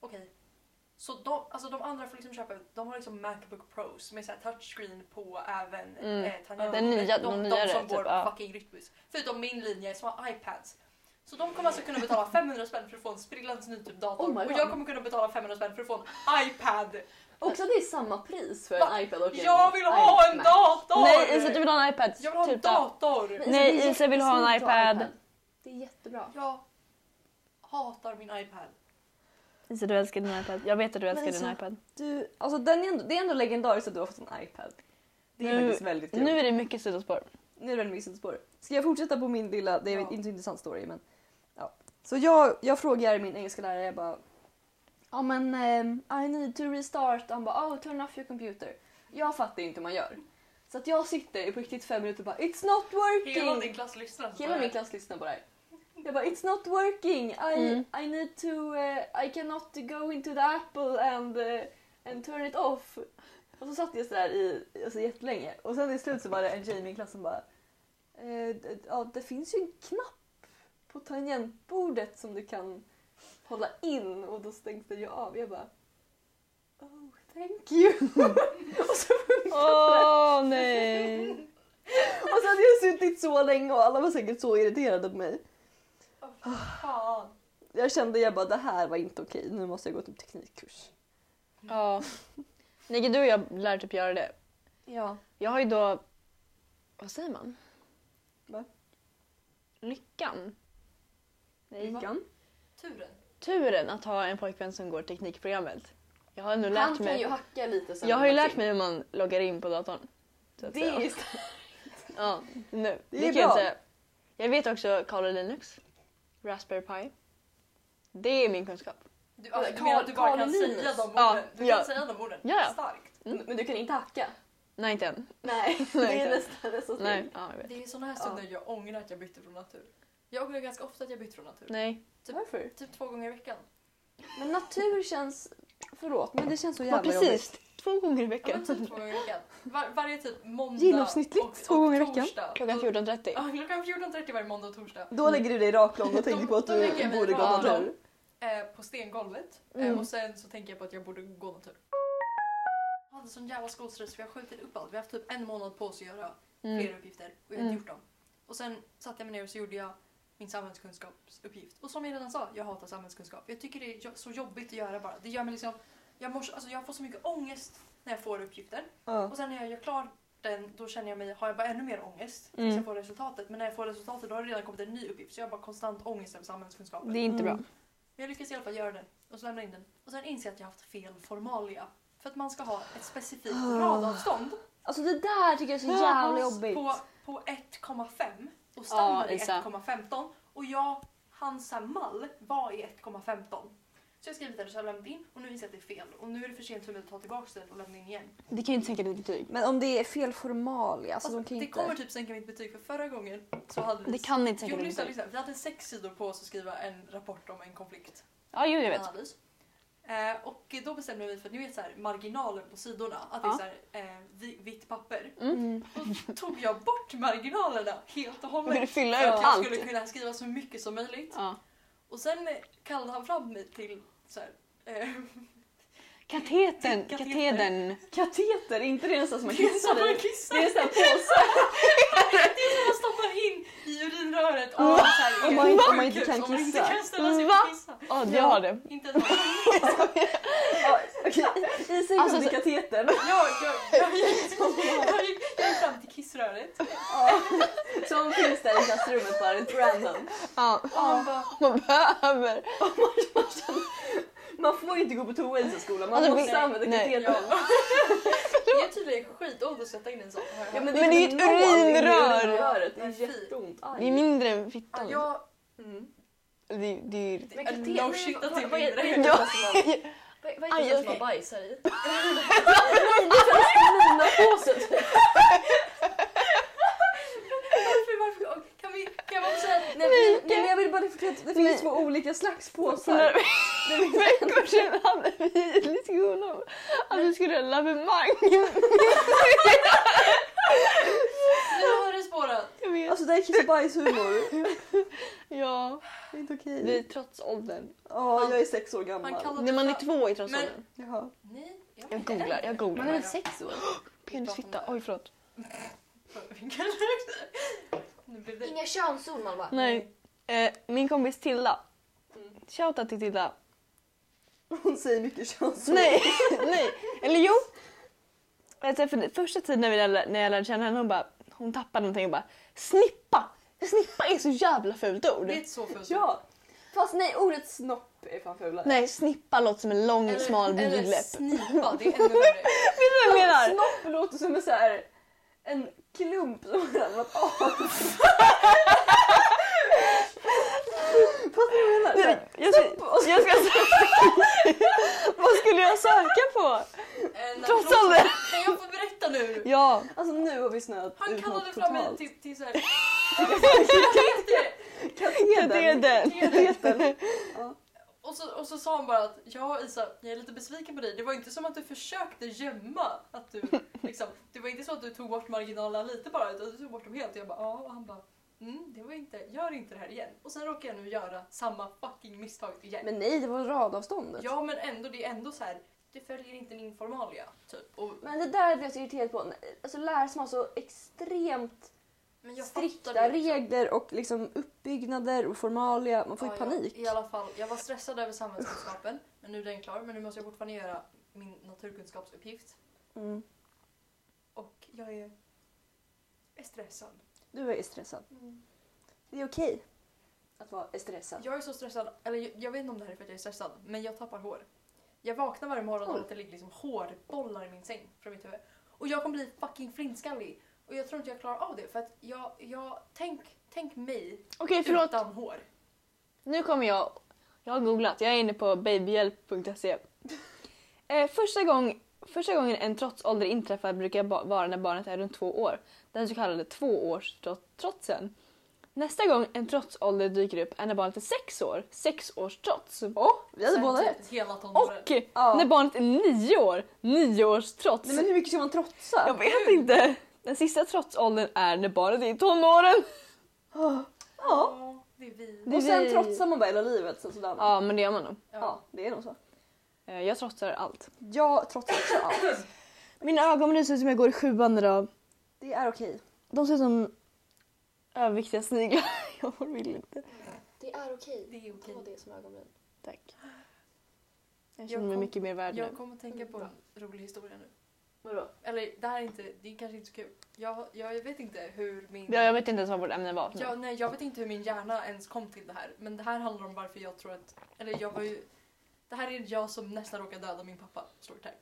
Speaker 2: Okej. Så de, alltså, de andra får liksom köpa ut, de har liksom Macbook Pros med så här touchscreen på även
Speaker 3: Mm.
Speaker 2: eh, tangentbordet.
Speaker 3: Den nya-
Speaker 2: de,
Speaker 3: de
Speaker 2: de,
Speaker 3: nyare,
Speaker 2: som
Speaker 3: typ,
Speaker 2: går på
Speaker 3: ja.
Speaker 2: fucking Rytmus. Förutom min linje som har iPads. Så de kommer alltså kunna betala 500 spänn för att få en sprillans ny typ dator.
Speaker 4: Oh my
Speaker 2: och
Speaker 4: God.
Speaker 2: jag kommer kunna betala 500 spänn för att få en iPad.
Speaker 4: Också att det är samma pris för
Speaker 2: Va?
Speaker 4: en iPad och en
Speaker 2: Jag vill ha en
Speaker 4: iMac.
Speaker 2: dator!
Speaker 3: Nej, Isa du vill ha en iPad.
Speaker 2: Jag vill ha en
Speaker 3: Typ då.
Speaker 2: dator!
Speaker 4: Men
Speaker 3: Nej,
Speaker 4: det är
Speaker 3: Isa vill ha en
Speaker 4: jättesnyggt att
Speaker 3: iPad.
Speaker 4: Det är jättebra.
Speaker 2: Jag hatar min iPad.
Speaker 3: Isa du älskar din iPad. Jag vet att du älskar din
Speaker 1: Isa,
Speaker 3: iPad.
Speaker 1: Du, alltså den är ändå, det är ändå legendariskt att du har fått en iPad. Det är
Speaker 3: Nu-
Speaker 1: faktiskt väldigt kul.
Speaker 3: Nu är det mycket sidospår.
Speaker 1: Nu är det en missnöjesspår. Ska jag fortsätta på min lilla, det är
Speaker 2: Ja.
Speaker 1: inte så intressant story men. Ja. Så jag, jag frågar min engelska lärare, jag bara. Ja men ehm, I need to restart. Han bara
Speaker 4: "Ah,
Speaker 1: oh turn off your computer. Jag fattar ju inte hur man gör. Så att jag sitter i på riktigt fem minuter och bara it's not
Speaker 2: Hela
Speaker 1: working.
Speaker 2: din klass lyssnar. på
Speaker 4: Hela
Speaker 2: det
Speaker 4: min
Speaker 2: här.
Speaker 4: klass lyssnar på det här. Jag bara it's not working. I,
Speaker 3: Mm.
Speaker 4: I need to, eh, I cannot go into the apple and, eh, and turn it off. Och så satt jag sådär i alltså, jättelänge och sen i slut så var det en tjej i min klass som bara eh, d- ja, det finns ju en knapp på tangentbordet som du kan hålla in och då stängs det ju av. Jag bara oh thank you. och så
Speaker 3: Åh nej.
Speaker 1: Och så hade jag suttit så länge och alla var säkert så irriterade på mig.
Speaker 2: Fan.
Speaker 1: Jag kände jag bara det här var inte okej, nu måste jag gå typ teknikkurs.
Speaker 3: Ja. Nike du och jag lär typ göra det.
Speaker 1: Ja.
Speaker 3: Jag har ju då, vad säger man?
Speaker 1: Va?
Speaker 3: Lyckan. Nej,
Speaker 1: Lyckan.
Speaker 2: Turen.
Speaker 3: turen att ha en pojkvän som går teknikprogrammet. Jag har nu lärt
Speaker 4: Han kan
Speaker 3: mig.
Speaker 4: ju hacka lite sönder
Speaker 3: Jag har ju lärt
Speaker 4: någonting.
Speaker 3: mig hur man loggar in på datorn. Så att
Speaker 4: Det
Speaker 3: säga.
Speaker 4: är just
Speaker 3: Ja, nu.
Speaker 1: Det
Speaker 3: Det,
Speaker 1: är
Speaker 3: kan
Speaker 1: bra.
Speaker 3: jag säga. Jag vet också Kali Linux. Raspberry Pi. Det är min kunskap.
Speaker 2: Du,
Speaker 4: alltså,
Speaker 2: du
Speaker 4: Karl-
Speaker 2: menar att du bara kan
Speaker 4: Karl Linus.
Speaker 2: säga de orden?
Speaker 3: Ja,
Speaker 2: du kan
Speaker 3: ja.
Speaker 2: säga de orden?
Speaker 3: Ja, ja.
Speaker 2: Starkt.
Speaker 4: [laughs] Men du kan inte hacka?
Speaker 3: Nej, inte än.
Speaker 4: Mm. [laughs] Nej, [laughs] det är nästan nästa steg.
Speaker 3: Nej, ja, jag vet.
Speaker 2: Det är sådana här stunder jag ångrar att jag bytte från natur. Jag ångrar ganska ofta att jag bytte från natur.
Speaker 3: Nej.
Speaker 4: Varför?
Speaker 2: Typ två gånger i veckan.
Speaker 4: Men natur känns... Förlåt, men det känns så
Speaker 3: Ja,
Speaker 4: jävla jobbigt.
Speaker 3: precis. Två gånger i
Speaker 2: Ja, men
Speaker 3: veckan.
Speaker 2: typ två gånger i veckan. Var, varje typ måndag
Speaker 1: Genomsnittligt
Speaker 2: och, och
Speaker 1: två gånger i veckan.
Speaker 2: torsdag.
Speaker 3: Klockan
Speaker 2: Då-
Speaker 3: 14.30.
Speaker 2: Ja, klockan 14.30 varje måndag och torsdag.
Speaker 1: Då lägger du dig raklång och tänker på att
Speaker 2: Då- då lägger
Speaker 1: du
Speaker 2: jag mig
Speaker 1: borde gå
Speaker 3: raklång.
Speaker 1: natur.
Speaker 2: Eh, på stengolvet. Eh, och sen så tänker jag på att jag borde gå natur. Jag hade sån jävla skolstress för jag har skjutit upp allt. Vi har haft typ en månad på oss att göra
Speaker 3: Mm.
Speaker 2: flera uppgifter och jag har inte gjort dem. Och sen satte jag mig ner och så gjorde jag min samhällskunskapsuppgift. Och som jag redan sa, jag hatar samhällskunskap. Jag tycker det är jo- så jobbigt att göra bara. Det gör mig liksom... Jag, mår, så- alltså jag får så mycket ångest när jag får uppgifter.
Speaker 1: Ja.
Speaker 2: Och sen när jag gör klar den, då känner jag mig, har jag bara ännu mer ångest tills
Speaker 3: Mm.
Speaker 2: jag får resultatet. Men när jag får resultatet då har det redan kommit en ny uppgift. Så jag har bara konstant ångest över samhällskunskapen.
Speaker 3: Det är inte bra.
Speaker 1: Mm.
Speaker 2: Men jag lyckas i alla fall göra den och så lämna in den. Och sen inser jag att jag haft fel formalia. För att man ska ha ett specifikt
Speaker 3: Ah.
Speaker 2: radavstånd
Speaker 4: Alltså det där tycker jag är så jävla jobbigt.
Speaker 2: på, på 1,5 och standard
Speaker 3: Ja,
Speaker 2: är
Speaker 3: Isa.
Speaker 2: 1,15 och jag, Hansa Mall, var i 1,15. Så jag skrev det och så har jag lämnat in och nu inser jag att det är fel. Och nu är det för sent för mig att ta tillbaka det och lämna in igen.
Speaker 3: Det kan ju inte sänka ditt betyg.
Speaker 1: Men om det är fel formalia, alltså, de kan
Speaker 2: det
Speaker 1: inte...
Speaker 2: kommer typ sänka mitt betyg för förra gången så hade vi...
Speaker 3: Det kan inte
Speaker 2: Jo,
Speaker 3: sänka ditt
Speaker 2: lyssna,
Speaker 3: betyg.
Speaker 2: lyssna. Vi hade sex sidor på oss att skriva en rapport om en konflikt.
Speaker 3: Ja, jo, jag vet.
Speaker 2: analys. Eh, och då bestämde vi för att ni vet så här, marginalen på sidorna, att det är
Speaker 3: Ja.
Speaker 2: så här, eh, vi- vitt papper.
Speaker 3: Mm.
Speaker 2: Då tog jag bort marginalerna helt och
Speaker 3: Man kan
Speaker 2: hållet.
Speaker 3: fylla
Speaker 2: För
Speaker 3: ut
Speaker 2: att jag
Speaker 3: allt.
Speaker 2: skulle kunna skriva så mycket som möjligt.
Speaker 3: Ja.
Speaker 2: Och sen kallade han fram mig till så här, eh,
Speaker 3: Kateten.
Speaker 2: Kateter.
Speaker 3: Katedern.
Speaker 1: Kateter, är inte det nästan som man
Speaker 2: det är som
Speaker 1: kissar
Speaker 2: man
Speaker 1: i?
Speaker 2: kissar.
Speaker 1: Det är en sån här påse.
Speaker 2: [laughs] Det är som man stoppar in i urinröret om man, så här,
Speaker 1: Mm. Om
Speaker 2: är
Speaker 1: man inte- om man
Speaker 2: sjukhus,
Speaker 1: inte kan
Speaker 2: om man inte
Speaker 1: kissa. Mm.
Speaker 2: kan ställa sig
Speaker 3: Va?
Speaker 2: och kissa.
Speaker 3: Ja, du har det.
Speaker 2: Inte ens jag,
Speaker 1: Ja, Okej, Isa
Speaker 3: Alltså,
Speaker 1: alltså, i
Speaker 3: så-
Speaker 1: katetern.
Speaker 2: jag, jag, gick- jag, gick- jag gick fram till kissröret
Speaker 1: Ja. Som finns där i klassrummet bara, lite random.
Speaker 3: Ja, [laughs]
Speaker 2: och han bara
Speaker 3: man behöver.
Speaker 1: Man får ju inte gå på toa i sin skola, man
Speaker 3: Alltså, vi-
Speaker 1: måste använda
Speaker 3: nej.
Speaker 1: katetern. [laughs]
Speaker 2: Det är tydligen skitont att sätta in en sån.
Speaker 1: Ja,
Speaker 2: men,
Speaker 3: det är ju ett
Speaker 1: nål i
Speaker 3: urinrör.
Speaker 1: urinröret, Det är
Speaker 2: Men fy.
Speaker 1: jätteont. Aj.
Speaker 3: Det är mindre än fittan.
Speaker 2: jag,
Speaker 1: Mm.
Speaker 3: Det, det är ju...
Speaker 4: Men
Speaker 2: no
Speaker 4: kateter- vad-
Speaker 2: shit att
Speaker 4: vad-
Speaker 2: det är
Speaker 4: vad är-
Speaker 2: mindre.
Speaker 4: vad heter det som man- Vad vad
Speaker 3: Aj,
Speaker 4: heter det som
Speaker 3: okej.
Speaker 4: man bajsar i? Nej, det är
Speaker 1: [laughs]
Speaker 4: plastinapåsen typ.
Speaker 2: varför, varför, kan vi, kan man säga att
Speaker 1: Nej, men, nej, men jag vill bara förklara att det finns två olika slags
Speaker 3: [laughs]
Speaker 1: påsar.
Speaker 3: För några veckor sedan hade vi en diskussion om att vi skulle ha lavemang.
Speaker 2: nu har det spårat?
Speaker 3: [laughs] Jag vet.
Speaker 1: Alltså det här är kiss och bajshumor.
Speaker 3: Ja,
Speaker 1: Det är inte okej.
Speaker 3: det är trots åldern.
Speaker 1: Ja, jag är sex år
Speaker 2: Han
Speaker 1: gammal.
Speaker 2: kallade
Speaker 3: När man är
Speaker 2: för-
Speaker 3: två i trots
Speaker 2: Men-
Speaker 3: åldern.
Speaker 1: Jaha.
Speaker 2: Nej, jag
Speaker 3: Jag googlar,
Speaker 2: [laughs]
Speaker 3: jag
Speaker 4: Man är
Speaker 3: googlar.
Speaker 4: väl sex år?
Speaker 3: Penisfitta, oj förlåt.
Speaker 2: Nu blev det...
Speaker 4: Inga könsord man bara.
Speaker 3: Nej. Eh, min kompis Tilda.
Speaker 4: Mm.
Speaker 3: Shoutout till Tilda.
Speaker 1: Hon säger mycket könsord.
Speaker 3: Nej, [laughs] nej. Eller jo. Alltså, för första tiden när, vi lärde, när jag lärde känna henne, hon, bara, hon tappade någonting och bara snippa. Snippa är så jävla fult ord.
Speaker 2: Det är så fult.
Speaker 1: Ja.
Speaker 4: Fast nej, ordet snopp är fan fulare.
Speaker 3: Nej, snippa låter som en lång smal
Speaker 2: Eller
Speaker 3: bigläpp.
Speaker 2: snipa, det är
Speaker 3: [laughs]
Speaker 2: ännu värre. Eh,
Speaker 3: Vet du vad jag menar?
Speaker 1: Snopp låter som en så här en klump som har ramlat av. [laughs] Fast jag menar? Så här,
Speaker 3: Jag ska, jag ska söka. Vad skulle jag söka på?
Speaker 2: Eh, när-
Speaker 3: Trots ålder?
Speaker 2: Kan jag få berätta nu?
Speaker 3: Ja.
Speaker 1: Alltså nu har vi snöat
Speaker 2: Han
Speaker 1: ut
Speaker 2: kallade
Speaker 1: något
Speaker 2: fram mig
Speaker 1: totalt.
Speaker 2: till, till såhär... [laughs] Jag vet det!
Speaker 3: Ja, det är den. [laughs]
Speaker 2: Och så, och så sa han bara att ja Isa, jag är lite besviken på dig. Det var inte som att du försökte gömma att du liksom, det var inte så att du tog bort marginalerna lite bara utan du tog bort dem helt. Jag bara ja och han bara mm, det var inte, gör inte det här igen. Och sen råkar jag nu göra samma fucking misstag igen.
Speaker 1: Men nej, det var radavståndet.
Speaker 2: ja men ändå, det är ändå så här, det följer inte min formalia typ. Och,
Speaker 4: Men det där blev jag så irriterad på. Alltså lärare som har så extremt
Speaker 2: men jag fattar
Speaker 4: strikta
Speaker 2: det också.
Speaker 1: Regler och liksom uppbyggnader och formalia. Man får ju
Speaker 2: Ja,
Speaker 1: panik.
Speaker 2: Jag, I alla fall, jag var stressad över samhällskunskapen men nu är den klar men nu måste jag fortfarande göra min naturkunskapsuppgift.
Speaker 1: Mm.
Speaker 2: Och jag är, är stressad.
Speaker 1: Du är stressad.
Speaker 2: Mm.
Speaker 1: Det är okej att vara stressad.
Speaker 2: Jag är så stressad, eller jag, jag vet inte om det här är för att jag är stressad, men jag tappar hår. Jag vaknar varje morgon och
Speaker 1: Oj.
Speaker 2: att det ligger liksom hårbollar i min säng från mitt huvud. Och jag kommer bli fucking flintskallig. Och jag tror inte jag klarar av det för att jag, jag tänk, tänk mig
Speaker 1: Eh,
Speaker 3: Okej, förlåt.
Speaker 2: utan hår.
Speaker 3: Nu kommer jag... Jag har googlat. Jag är inne på babyhjälp.se. Eh, första, gång, första gången en trotsålder inträffar brukar ba- vara när barnet är runt två år. Den så kallade tvåårstrotsen. Nästa gång en trotsålder dyker upp är när barnet är sex år. Sexårstrots.
Speaker 1: Åh, vi hade
Speaker 2: Sen
Speaker 1: båda
Speaker 2: typ
Speaker 1: rätt.
Speaker 2: Hela tonåren.
Speaker 3: Och
Speaker 1: Ja.
Speaker 3: när barnet är nio år. Nioårstrots.
Speaker 1: Nej men hur mycket ska man trotsa?
Speaker 3: Jag vet inte. Den sista trotsåldern är när barnet är i tonåren.
Speaker 1: Ja.
Speaker 2: det är vi.
Speaker 3: Det
Speaker 1: Och sen
Speaker 3: vi-
Speaker 1: trotsar man bara hela livet. Så sådär.
Speaker 3: Ja, men det gör man nog.
Speaker 1: ja, det är nog så.
Speaker 3: Eh, Jag trotsar allt.
Speaker 1: Jag trotsar också allt.
Speaker 3: Mina ögonbryn ser ut som jag går i sjuan idag.
Speaker 1: Det är okej.
Speaker 3: De ser ut som överviktiga sniglar. [laughs] Jag vill inte.
Speaker 4: Det är okej.
Speaker 2: Det är okej.
Speaker 4: Ta det som ögonbryn.
Speaker 3: Tack. Jag
Speaker 2: Jag
Speaker 3: känner mig
Speaker 2: kom-
Speaker 3: mycket mer värd nu.
Speaker 2: Jag kommer att tänka på en rolig historia nu.
Speaker 4: Vadå?
Speaker 2: Eller det här är inte, det är kanske inte så kul. Jag, jag vet inte hur min...
Speaker 3: Ja, jag vet inte ens vad vårt ämne var.
Speaker 2: Ja, nej, jag vet inte hur min hjärna ens kom till det här. Men det här handlar om varför jag tror att... Eller jag var ju... Det här är jag som nästan råkade döda min pappa. Står det här.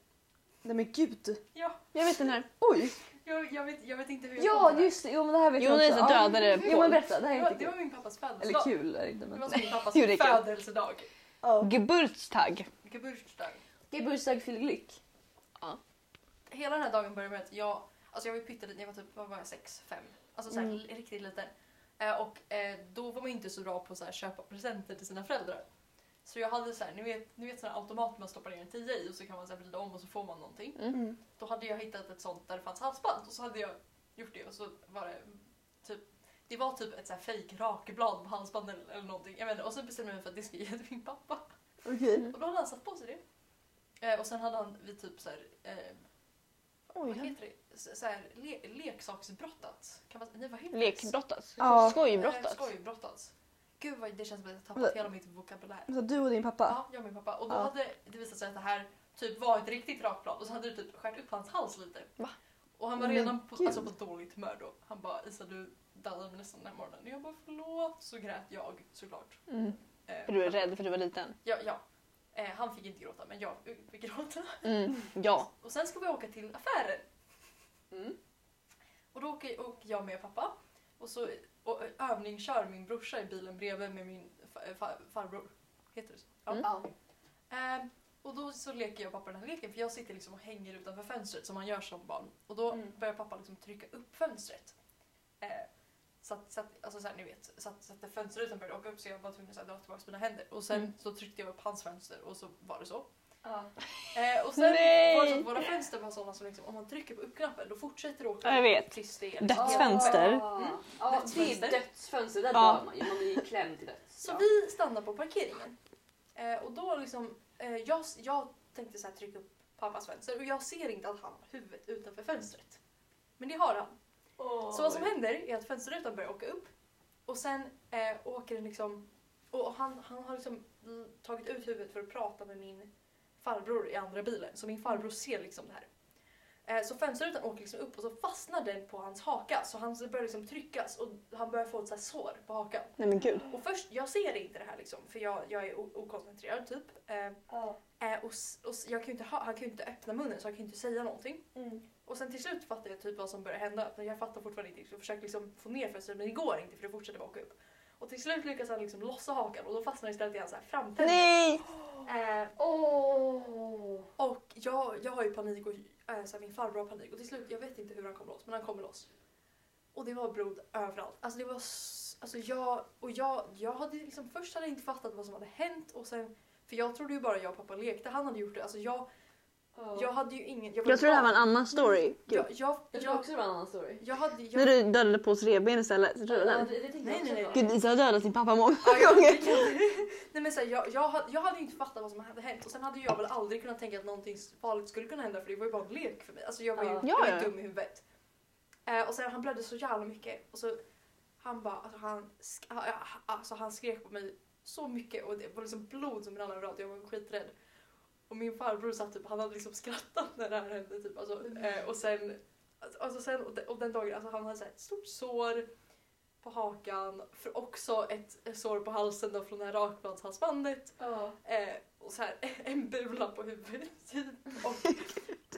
Speaker 1: Nej men gud.
Speaker 2: Ja,
Speaker 3: Jag vet den här.
Speaker 1: Oj.
Speaker 2: jag, jag, vet, jag vet inte hur jag kom
Speaker 1: Ja
Speaker 2: till det här.
Speaker 1: just det. Jo men det här vet jag
Speaker 3: Jonas
Speaker 1: Ja.
Speaker 3: dödade
Speaker 1: Jo men
Speaker 3: Paul.
Speaker 1: berätta, det här
Speaker 2: Det
Speaker 1: är
Speaker 2: var,
Speaker 1: inte
Speaker 2: det var
Speaker 1: kul.
Speaker 2: min pappas
Speaker 1: Eller
Speaker 2: födelsedag.
Speaker 1: kul är det inte
Speaker 2: Det
Speaker 1: men.
Speaker 2: var
Speaker 1: [laughs]
Speaker 2: som min pappas
Speaker 3: Jo, det är kul.
Speaker 2: födelsedag.
Speaker 1: Ja.
Speaker 3: Geburtstag.
Speaker 2: Geburtsdag.
Speaker 4: Geburtstag fyller lyck.
Speaker 2: Hela den här dagen började med att jag... Alltså jag var ju pytteliten, jag var typ vad var jag, sex, fem. Alltså såhär
Speaker 3: Mm.
Speaker 2: riktigt liten. Eh, och eh, då var man ju inte så bra på att köpa presenter till sina föräldrar. Så jag hade såhär, ni vet, ni vet såna automat man stoppar ner en tia i och så kan man så här vrida om och så får man någonting.
Speaker 1: Mm.
Speaker 2: Då hade jag hittat ett sånt där det fanns halsband och så hade jag gjort det och så var det typ det var typ ett så här fake rakblad på halsband eller, eller någonting. Jag vet inte, och så bestämde jag mig för att det ska jag ge till min pappa.
Speaker 1: Okej.
Speaker 2: Och då hade han satt på sig det. Eh, och sen hade han vid typ så här, eh, vad
Speaker 3: Oj.
Speaker 2: heter det? Så, så här, le, leksaksbrottat. Kan man, nej, vad heter det?
Speaker 3: Lekbrottats.
Speaker 1: Ja.
Speaker 2: Eh,
Speaker 3: Skojbrottats.
Speaker 2: skojbrottats. Gud vad det känns som att jag tappat hela mitt vokabulär.
Speaker 1: Så du och din pappa?
Speaker 2: Ja, jag och min pappa. Och då
Speaker 1: Ja.
Speaker 2: hade det visat sig att det här typ var ett riktigt rakblad och så hade det typ skärt upp hans hals lite.
Speaker 3: Va?
Speaker 2: Och han var
Speaker 1: Men
Speaker 2: redan på,
Speaker 1: gud.
Speaker 2: alltså, på dåligt humör då. Han bara Isa du dödade mig nästan den här morgonen. Och jag bara förlåt. Så grät jag såklart.
Speaker 3: Mm.
Speaker 2: Eh,
Speaker 3: För du är rädd för du var liten.
Speaker 2: Ja, ja. Eh, han fick inte gråta men jag fick gråta.
Speaker 3: Mm. Ja.
Speaker 2: Och sen ska vi åka till affären.
Speaker 4: Mm.
Speaker 2: Och då åker, åker jag med pappa. Och så och, övningskör min brorsa i bilen bredvid med min fa- eh, fa- farbror. Heter det så? Ja.
Speaker 3: Mm.
Speaker 4: Ja.
Speaker 2: Ehm, och då så leker jag och pappa den här leken för jag sitter liksom och hänger utanför fönstret som man gör som barn. Och då
Speaker 4: Mm.
Speaker 2: börjar pappa liksom trycka upp fönstret. Eh, så att, så att, alltså så här, ni vet, så att, så att det fönsterrutan började åka upp så jag var tvungen att så här, dra tillbaka mina händer. Och sen
Speaker 3: Mm.
Speaker 2: så tryckte jag upp hans fönster och så var det så.
Speaker 4: Ja.
Speaker 2: Eh, och sen
Speaker 3: Nej!
Speaker 2: var det så att våra fönster var sådana som liksom, om man trycker på uppknappen då fortsätter det åka
Speaker 3: Ja, jag vet.
Speaker 2: tills det är
Speaker 3: Dödsfönster.
Speaker 4: Mm. Ja, det
Speaker 2: Dödsfönster.
Speaker 4: är dödsfönster. Där
Speaker 3: Ja.
Speaker 4: dör man ju. Man blir ju [laughs] klämd till döds.
Speaker 2: Så
Speaker 4: Ja.
Speaker 2: vi stannar på parkeringen. Eh, och då liksom, eh, jag, jag tänkte så här trycka upp pappas fönster och jag ser inte att han har huvudet utanför fönstret. Men det har han. Så vad som händer är att fönsterrutan börjar åka upp och sen eh, åker den liksom... Och och han, han har liksom mm, tagit ut huvudet för att prata med min farbror i andra bilen. Så min farbror ser liksom det här. Eh, så fönsterrutan åker liksom upp och så fastnar den på hans haka så han börjar liksom tryckas och han börjar få ett så här sår på hakan.
Speaker 3: Nej men gud.
Speaker 2: Och först, jag ser inte det här liksom för jag, jag är o- okoncentrerad typ. Eh,
Speaker 4: Ja.
Speaker 2: eh, och s- och s- jag kan ju inte ha, han kan ju inte öppna munnen så jag kan ju inte säga någonting.
Speaker 4: Mm.
Speaker 2: Och sen till slut fattar jag typ vad som börjar hända. Men jag fattar fortfarande inte. Jag försöker liksom få ner fönstret men det går inte för det fortsätter bara åka upp. Och till slut lyckas han liksom lossa hakan och då fastnar det istället i hans så här framtänder.
Speaker 3: Nej!
Speaker 2: Eh,
Speaker 4: Åh.
Speaker 2: och jag, jag har ju panik och eh, så här, min farbror har panik. Och till slut, jag vet inte hur han kom loss men han kommer loss. Och det var blod överallt. Alltså det var... s- Alltså jag... Och jag, jag hade liksom... Först hade jag inte fattat vad som hade hänt och sen... För jag trodde ju bara jag och pappa lekte. Han hade gjort det. Alltså jag... Jag hade ju ingen...
Speaker 3: Jag tror det här var en annan story. Gud.
Speaker 2: Jag, jag,
Speaker 4: Jag
Speaker 2: jag,
Speaker 4: tror
Speaker 2: jag,
Speaker 4: också det var en annan story.
Speaker 2: hade... Jag,
Speaker 3: När du dödade Pauls revben istället. Tror du
Speaker 4: Ja,
Speaker 3: den?
Speaker 4: det, det tänkte
Speaker 2: Nej,
Speaker 4: jag också
Speaker 2: nej,
Speaker 4: på.
Speaker 3: Gud, Isa har dödat sin pappa många
Speaker 2: Ja, jag-
Speaker 3: gånger.
Speaker 2: Nej, men så här, jag, jag, hade- jag hade ju inte fattat vad som hade hänt och sen hade jag väl aldrig kunnat tänka att någonting farligt skulle kunna hända för det var ju bara en lek för mig. Alltså jag var ju
Speaker 4: Ja.
Speaker 2: jag var
Speaker 3: Ja, ja.
Speaker 2: ju dum i huvudet. Eh, och sen han blödde så jävla mycket och så han bara, alltså han, sk- ah, ah, alltså han skrek på mig så mycket och det var liksom blod som rann överallt jag var skiträdd. Och min farbror satt typ, han hade liksom skrattat när det här hände typ. Alltså, eh, och sen Alltså, alltså sen, och, de, och den dagen, alltså han hade så här ett stort sår på hakan, för också ett ett sår på halsen då från det här rakbladshalsbandet.
Speaker 4: Ja.
Speaker 2: Eh, och så här, [laughs] en bula på huvudet. typ. Och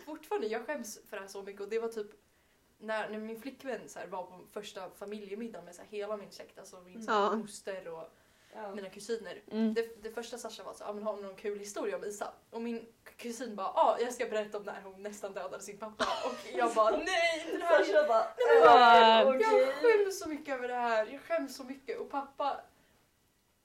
Speaker 2: fortfarande, jag skäms för det här så mycket. Och det var typ när, när min flickvän så här, var på första familjemiddagen med så här, hela min släkt, alltså min så här,
Speaker 3: Ja.
Speaker 2: moster och mina kusiner.
Speaker 3: Mm.
Speaker 2: Det, det första Sasha var så här, ah, men har hon någon kul historia om Isa? Och min kusin bara, ja ah, jag ska berätta om när hon nästan dödade sin pappa. Och jag bara, nej inte det här!
Speaker 4: Först jag bara...
Speaker 2: Nej, men
Speaker 4: "Äh,
Speaker 3: vad-
Speaker 4: okej."
Speaker 2: Jag skäms så mycket över det här. Jag skäms så mycket. Och pappa...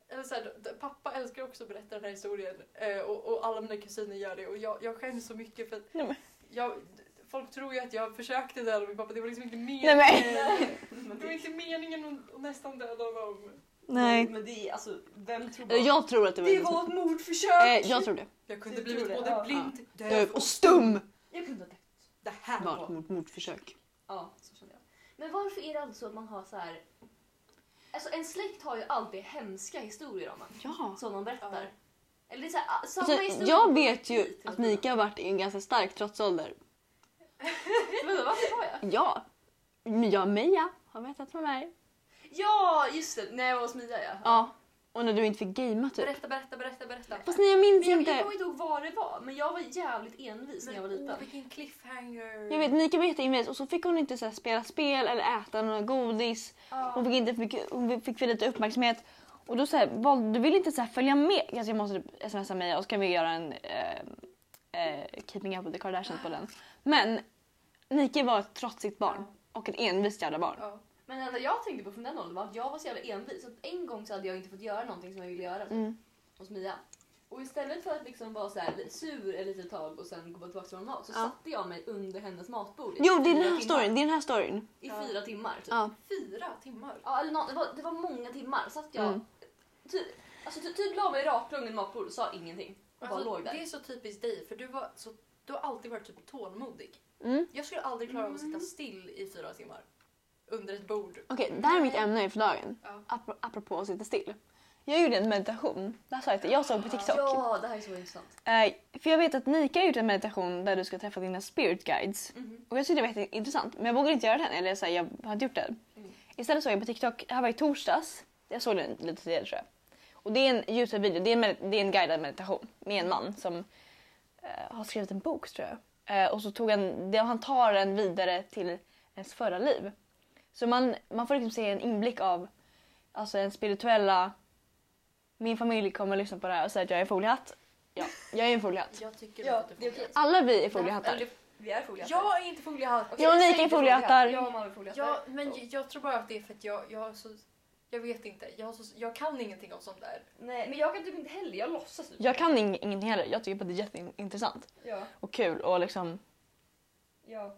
Speaker 2: Eller så här, d- pappa älskar också att berätta den här historien. Eh, och, och alla mina kusiner gör det. Och jag, jag skäms så mycket för att...
Speaker 3: Nej, men-
Speaker 2: Jag, d- folk tror ju att jag försökte döda min pappa. Det var liksom inte meningen.
Speaker 3: Nej, men-
Speaker 2: Det var inte meningen att, att nästan döda honom.
Speaker 3: Nej.
Speaker 4: Men det är alltså, vem tror
Speaker 3: Eh, Jag tror att det var...
Speaker 4: Det var ett mordförsök!
Speaker 3: Eh, jag tror det.
Speaker 2: Jag kunde
Speaker 4: Du
Speaker 2: blivit
Speaker 4: tror det,
Speaker 2: både
Speaker 4: ja.
Speaker 2: blind,
Speaker 3: Eh,
Speaker 2: döv
Speaker 3: Och stum!
Speaker 4: Jag kunde ha dött.
Speaker 2: Det här
Speaker 3: Var ett
Speaker 2: var...
Speaker 3: mord- mordförsök.
Speaker 4: Ja, så känner jag. Men varför är det alltså att man har så här... Alltså en släkt har ju alltid hemska historier om man,
Speaker 3: Ja.
Speaker 4: som man berättar.
Speaker 2: Ja.
Speaker 4: Eller det är så här, ah, samma
Speaker 3: Alltså,
Speaker 4: historia.
Speaker 3: jag vet ju
Speaker 4: Hit,
Speaker 3: att
Speaker 4: hela
Speaker 3: Mika har varit i en ganska stark trotsålder.
Speaker 4: tiden. Vänta, varför har jag?
Speaker 3: Ja. Men jag och Meja har vetat med mig.
Speaker 4: Ja, just det. När jag var hos Mia ja.
Speaker 3: Ja. Och när du inte fick gamea typ.
Speaker 2: Berätta, berätta, berätta, berätta.
Speaker 3: Fast nej, jag minns
Speaker 4: Men jag, jag
Speaker 3: inte.
Speaker 4: kommer inte ihåg vad det var, men jag var jävligt envis när jag var
Speaker 2: åh,
Speaker 4: liten.
Speaker 2: vilken cliffhanger.
Speaker 3: Jag vet, Nika var jätteinvis och så fick hon inte så här, spela spel eller äta några godis. Hon fick, inte för mycket, hon fick för lite uppmärksamhet. Och då så här, valde, du ville inte så här, följa med. Alltså, jag måste typ smsa mig och så kan vi göra en eh, eh, Keeping Up With The Kardashians på den. Men Nika var ett trotsigt barn. Och ett envist jävla barn.
Speaker 2: Ja.
Speaker 4: Men det enda jag tänkte på från den åldern var att jag var så jävla envis. Att en gång så hade jag inte fått göra någonting som jag ville göra typ,
Speaker 3: Mm.
Speaker 4: hos Mia. Och istället för att liksom vara så här sur ett litet tag och sen gå tillbaka till min mat så
Speaker 3: Ja.
Speaker 4: satte jag mig under hennes matbord i
Speaker 3: Jo, det är den
Speaker 4: fyra
Speaker 3: här
Speaker 4: timmar.
Speaker 3: storyn. Det är den här storyn.
Speaker 4: I
Speaker 2: Ja.
Speaker 4: fyra timmar typ.
Speaker 3: Ja.
Speaker 2: Fyra timmar.
Speaker 4: Ja, eller nå- det, var, det var många timmar. Satt jag
Speaker 3: Mm.
Speaker 4: typ, alltså, ty, typ la mig raklång i matbordet och sa ingenting. Och bara
Speaker 2: Alltså,
Speaker 4: låg där.
Speaker 2: det är så typiskt dig för du, var, så, du har alltid varit typ tålmodig.
Speaker 3: Mm.
Speaker 2: Jag skulle aldrig klara av att sitta still i fyra timmar. Under ett bord.
Speaker 3: Okej, det här är mitt ämne för dagen.
Speaker 2: Ja.
Speaker 3: Apro- Apropå att sitta still. Jag gjorde en meditation. Det här sa jag till Jag såg på TikTok.
Speaker 4: Ja, det här är så intressant.
Speaker 3: Eh, för jag vet att Nika har gjort en meditation där du ska träffa dina spirit guides.
Speaker 4: Mhm.
Speaker 3: Och jag tyckte det var jätteintressant. Men jag vågade inte göra den. Eller så här, jag har inte gjort den.
Speaker 4: Mm.
Speaker 3: Istället såg jag på TikTok, det här var i torsdags. Jag såg den lite tidigare tror jag. Och det är en Youtube-video. Det, är en med- det är en guidad meditation med en man som eh, har skrivit en bok tror jag. Eh, och så tog han, det, han tar den vidare till ens förra liv. Så man, man får liksom se en inblick av alltså en spirituella... Min familj kommer att lyssna på det här och säga att jag är en foliehatt. Ja, jag är en foliehatt.
Speaker 2: Jag tycker
Speaker 4: Ja,
Speaker 2: nog att du
Speaker 4: det är
Speaker 2: får
Speaker 4: okej.
Speaker 3: Alla vi är foliehattar.
Speaker 4: Eller, Vi är foliehattar.
Speaker 2: Jag är inte foliehatt.
Speaker 4: Okej,
Speaker 3: Jag och Nika är
Speaker 4: säg inte
Speaker 3: foliehattar.
Speaker 4: Jag och Malin är foliehattar.
Speaker 2: Jag, men j- jag tror bara att det är för att jag, jag har så... Jag vet inte. Jag, har så, jag kan ingenting om sånt där.
Speaker 4: Nej, men jag kan typ inte heller. Jag låtsas typ.
Speaker 3: Jag kan ing- ingenting heller. Jag tycker bara det är jätteintressant
Speaker 4: Ja,
Speaker 3: och kul och liksom...
Speaker 4: ja.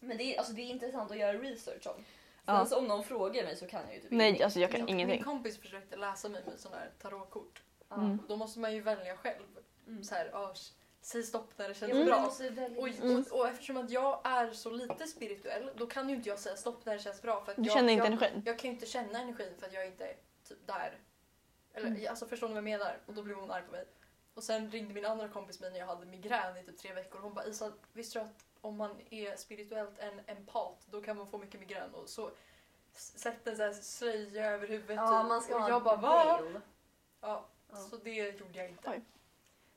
Speaker 4: Men det är, alltså, det är intressant att göra research om. Sen
Speaker 3: Ja.
Speaker 4: så om någon frågar mig så kan jag ju typ
Speaker 3: Nej,
Speaker 4: ingenting.
Speaker 3: alltså jag kan
Speaker 2: Min
Speaker 3: ingenting.
Speaker 2: kompis försökte läsa mig med sådana här tarotkort.
Speaker 4: Ja.
Speaker 3: Mm.
Speaker 2: Då måste man ju välja själv.
Speaker 4: Mm.
Speaker 2: Så här, ah, s- säg stopp när det
Speaker 4: Ja,
Speaker 2: känns
Speaker 4: men jag
Speaker 2: bra.
Speaker 4: måste välja.
Speaker 2: Och,
Speaker 3: Mm.
Speaker 2: och, och eftersom att jag är så lite spirituell då kan ju inte jag säga stopp när det känns bra. För att
Speaker 3: Du
Speaker 2: jag,
Speaker 3: känner inte
Speaker 2: jag,
Speaker 3: energin?
Speaker 2: Jag kan ju inte känna energin för att jag inte är typ där. Eller,
Speaker 4: Mm.
Speaker 2: alltså, förstår ni vad jag menar? Och då blev hon arg på mig. Och sen ringde min andra kompis mig när jag hade migrän i typ tre veckor. Hon bara Isa, visste du att om man är spirituellt en empat då kan man få mycket migrän. Och så s- sätt en sån här slöja över huvudet.
Speaker 4: Ja,
Speaker 2: typ.
Speaker 4: man ska
Speaker 2: och
Speaker 4: ha
Speaker 2: jag
Speaker 4: en
Speaker 2: bara va?
Speaker 4: veil.
Speaker 2: Ja,
Speaker 4: Ja.
Speaker 2: Så det gjorde jag inte.
Speaker 3: Oj.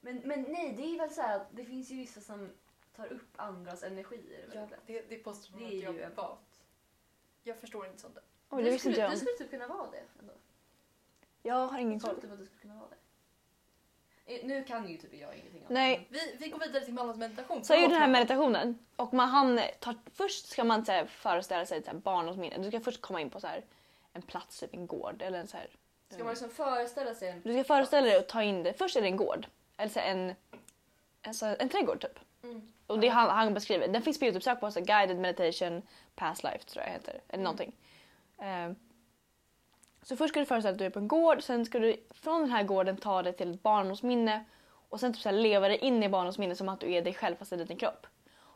Speaker 4: Men, men nej, det är väl så här att det finns ju vissa som tar upp andras energier.
Speaker 2: Ja,
Speaker 4: väldigt lätt.
Speaker 2: det, det påstår hon
Speaker 4: Det
Speaker 2: att
Speaker 4: är
Speaker 2: jag
Speaker 4: ju en
Speaker 2: var. Jag förstår inte sånt där.
Speaker 3: Oj, det visste
Speaker 4: skulle,
Speaker 3: inte jag
Speaker 4: Du
Speaker 3: om.
Speaker 4: skulle typ kunna vara det ändå.
Speaker 3: Jag har ingen
Speaker 4: Jag tror
Speaker 3: koll.
Speaker 4: typ att du skulle kunna vara det. Eh, Nu kan ju typ jag ingenting om
Speaker 3: Nej,
Speaker 2: Vi, vi går vidare till Mallas meditation.
Speaker 3: Så jag gjorde den
Speaker 2: Förlåt,
Speaker 3: här
Speaker 2: Malla.
Speaker 3: meditationen och man, han tar, först ska man så här, föreställa sig så här, barndomsminne. Du ska först komma in på så här, en plats, typ en gård. Eller en, så här.
Speaker 4: det. Ska man liksom föreställa sig en...
Speaker 3: Du ska föreställa dig och ta in det. Först är det en gård, eller så här, en, en, så här, en trädgård typ.
Speaker 4: Mm.
Speaker 3: Och det han, han beskriver, den finns på Youtube, sök på så här, guided meditation past life tror jag heter. Eller någonting. Ehm, så först ska du föreställa dig att du är på en gård, sen ska du från den här gården ta dig till ett barndomsminne och sen typ så här leva dig in i barndomsminne som att du är dig själv fast i din kropp.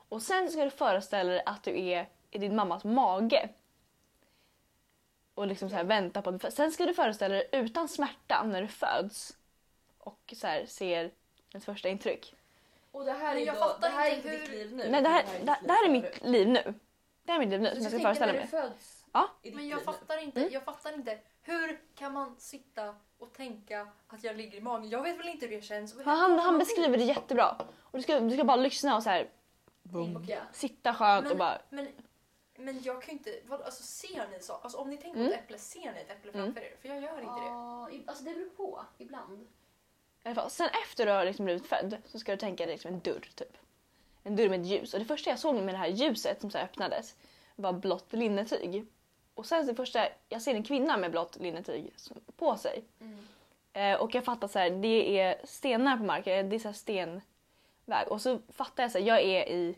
Speaker 3: Och sen ska du föreställa dig att du är i din mammas mage. Och liksom så här vänta på att du fö- Sen ska du föreställa dig utan smärta när du föds och så här ser ett första intryck.
Speaker 4: Och det här är
Speaker 2: Men jag
Speaker 4: då,
Speaker 2: fattar
Speaker 4: det här är
Speaker 2: inte
Speaker 4: inte ditt
Speaker 2: hur-
Speaker 4: liv nu.
Speaker 3: Nej, det här,
Speaker 4: ditt
Speaker 3: det,
Speaker 4: liv
Speaker 3: det här är
Speaker 4: före.
Speaker 3: mitt liv nu. Det här är mitt liv nu som jag ska föreställa mig.
Speaker 5: föds
Speaker 3: Ja.
Speaker 5: i ditt
Speaker 2: Men jag
Speaker 5: liv nu.
Speaker 2: fattar, inte, jag fattar inte. Hur kan man sitta och tänka att jag ligger i magen? Jag vet väl inte hur det känns. Och hur
Speaker 3: Han, han,
Speaker 2: kan man-
Speaker 3: han beskriver det jättebra. Och du, ska, du ska bara lyssna och så här, Mm.
Speaker 2: Okej.
Speaker 3: sitta skönt
Speaker 2: Men-
Speaker 3: och bara...
Speaker 2: Men, men jag kan ju inte... Vad, alltså, ser ni så? Alltså, om ni tänker
Speaker 3: Mm.
Speaker 2: på ett äpple, ser ni ett äpple framför er? För jag gör inte det.
Speaker 5: Ja, i- alltså det beror på. Ibland.
Speaker 3: I alla fall. Sen efter du har liksom blivit född så ska du tänka dig liksom en dörr typ. En dörr med ett ljus. Och det första jag såg med det här ljuset som så här öppnades var blått linnetyg. Och sen det första, jag ser en kvinna med blått linnetyg som- på sig. Eh, och jag fattar så här, det är stenar på marken, det är så här stenväg. Och så fattar jag så här, jag är i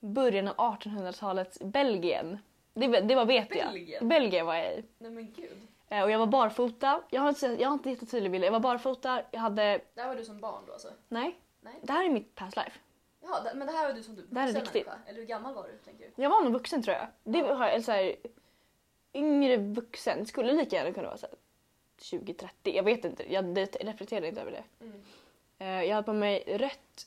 Speaker 3: början av 1800-talets Belgien. Det, det var vet jag.
Speaker 4: Belgien?
Speaker 3: Belgien var jag i.
Speaker 4: Nej men gud.
Speaker 3: Eh, Och jag var barfota. Jag har inte, jag har inte jättetydlig bild. Jag var barfota, jag hade...
Speaker 4: Det här var du som barn då alltså?
Speaker 3: Nej.
Speaker 4: Nej.
Speaker 3: Det här är mitt past life.
Speaker 4: Ja, det- men det här var du som du
Speaker 3: Det här är
Speaker 4: vuxen
Speaker 3: riktigt.
Speaker 4: människa. Eller hur gammal var du tänker du?
Speaker 3: Jag var nog vuxen tror jag. Det har jag, eller så här, yngre vuxen skulle lika gärna kunna vara så här 20-30. Jag vet inte, jag det- reflekterade inte över det.
Speaker 4: Mm.
Speaker 3: Eh, Jag hade på mig rött,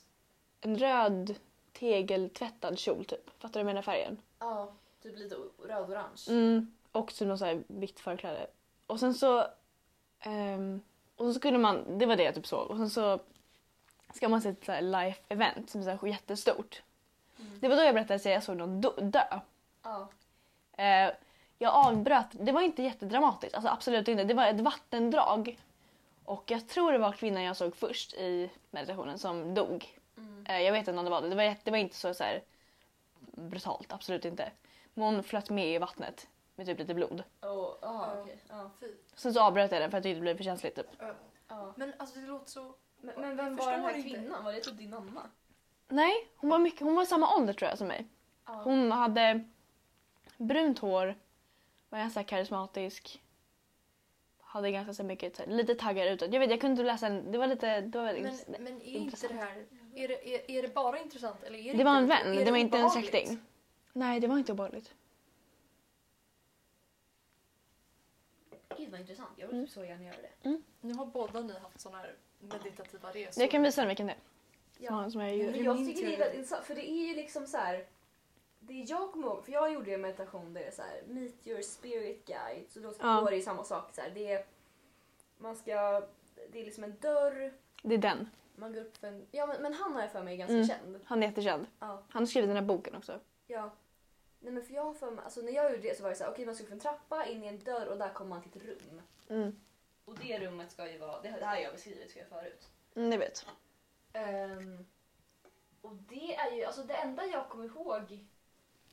Speaker 3: en röd tegeltvättad kjol typ. Fattar du vad jag menar färgen?
Speaker 4: Ja, typ lite o- röd-orange.
Speaker 3: Mm, och typ något så här vitt förkläde. Och sen så... ehm, och så skulle man, det var det jag typ såg. Och sen så ska man se ett så här life event som är så här jättestort. Det var då jag berättade att jag såg någon dö. dö.
Speaker 4: Ja.
Speaker 3: Eh, jag avbröt, det var inte jättedramatiskt, alltså absolut inte. Det var ett vattendrag. Och jag tror det var kvinnan jag såg först i meditationen som dog.
Speaker 4: mm.
Speaker 3: Eh, jag vet inte om det var det. Det var, jätte- det var inte så, så här brutalt, absolut inte. Men hon flöt med i vattnet med typ lite blod.
Speaker 4: Och, ja,
Speaker 2: Ja.
Speaker 4: okej. Ja.
Speaker 2: Fy.
Speaker 3: Sen så avbröt jag den för att det inte blev för känsligt. Typ.
Speaker 2: Ö.
Speaker 4: Ja.
Speaker 2: Men alltså det låter så...
Speaker 4: Men, men vem
Speaker 2: Jag
Speaker 4: var den här
Speaker 2: förstår inte.
Speaker 4: kvinnan? Var det typ din mamma?
Speaker 3: Nej, hon var, mycket, hon var samma ålder tror jag som mig.
Speaker 4: Ja.
Speaker 3: Hon hade brunt hår, var ganska karismatisk. Hade ganska så mycket, så här, lite taggar utåt. Jag vet, jag kunde inte läsa en, det var lite... Det var, liksom-
Speaker 2: Men,
Speaker 3: väldigt-
Speaker 2: men är inte
Speaker 3: intressant.
Speaker 2: det här... Är det, är, är det bara intressant? Eller är det,
Speaker 3: det var en
Speaker 2: inte-
Speaker 3: vän,
Speaker 2: är
Speaker 3: det, var inte en
Speaker 2: obehagligt?
Speaker 3: släkting. Nej, det var inte obehagligt.
Speaker 5: Gud vad intressant. Jag vill typ så
Speaker 3: Mm.
Speaker 5: gärna göra det.
Speaker 2: Nu har båda ni haft såna här meditativa resor.
Speaker 3: Jag kan visa den vilken det är.
Speaker 4: Ja.
Speaker 3: Som, som jag gjorde.
Speaker 4: Men
Speaker 2: det
Speaker 4: jag
Speaker 2: minns
Speaker 4: tycker
Speaker 2: jag
Speaker 4: det är
Speaker 2: ju.
Speaker 4: väldigt intressant för det är ju liksom så här. Det jag kommer ihåg, för jag gjorde ju en meditation där det är så här meet your spirit guide. Så då
Speaker 3: Ja.
Speaker 4: står det ju samma sak. Så här, det, är, man ska, det är liksom en dörr,
Speaker 3: Det är den.
Speaker 4: man går upp för en... Ja men, men han har jag för mig är ganska
Speaker 3: Mm.
Speaker 4: känd.
Speaker 3: Han är jättekänd.
Speaker 4: Ja.
Speaker 3: Han har skrivit den här boken också.
Speaker 4: Ja. Nej men för jag har för mig, alltså när jag gjorde det så var det så här, okej man skulle för en trappa in i en dörr och där kom man till ett rum.
Speaker 3: Mm.
Speaker 4: Och det rummet ska ju vara, det det här har jag beskrivit ska jag förut.
Speaker 3: Mm, det vet.
Speaker 4: Ehm, och det är ju alltså det enda jag kommer ihåg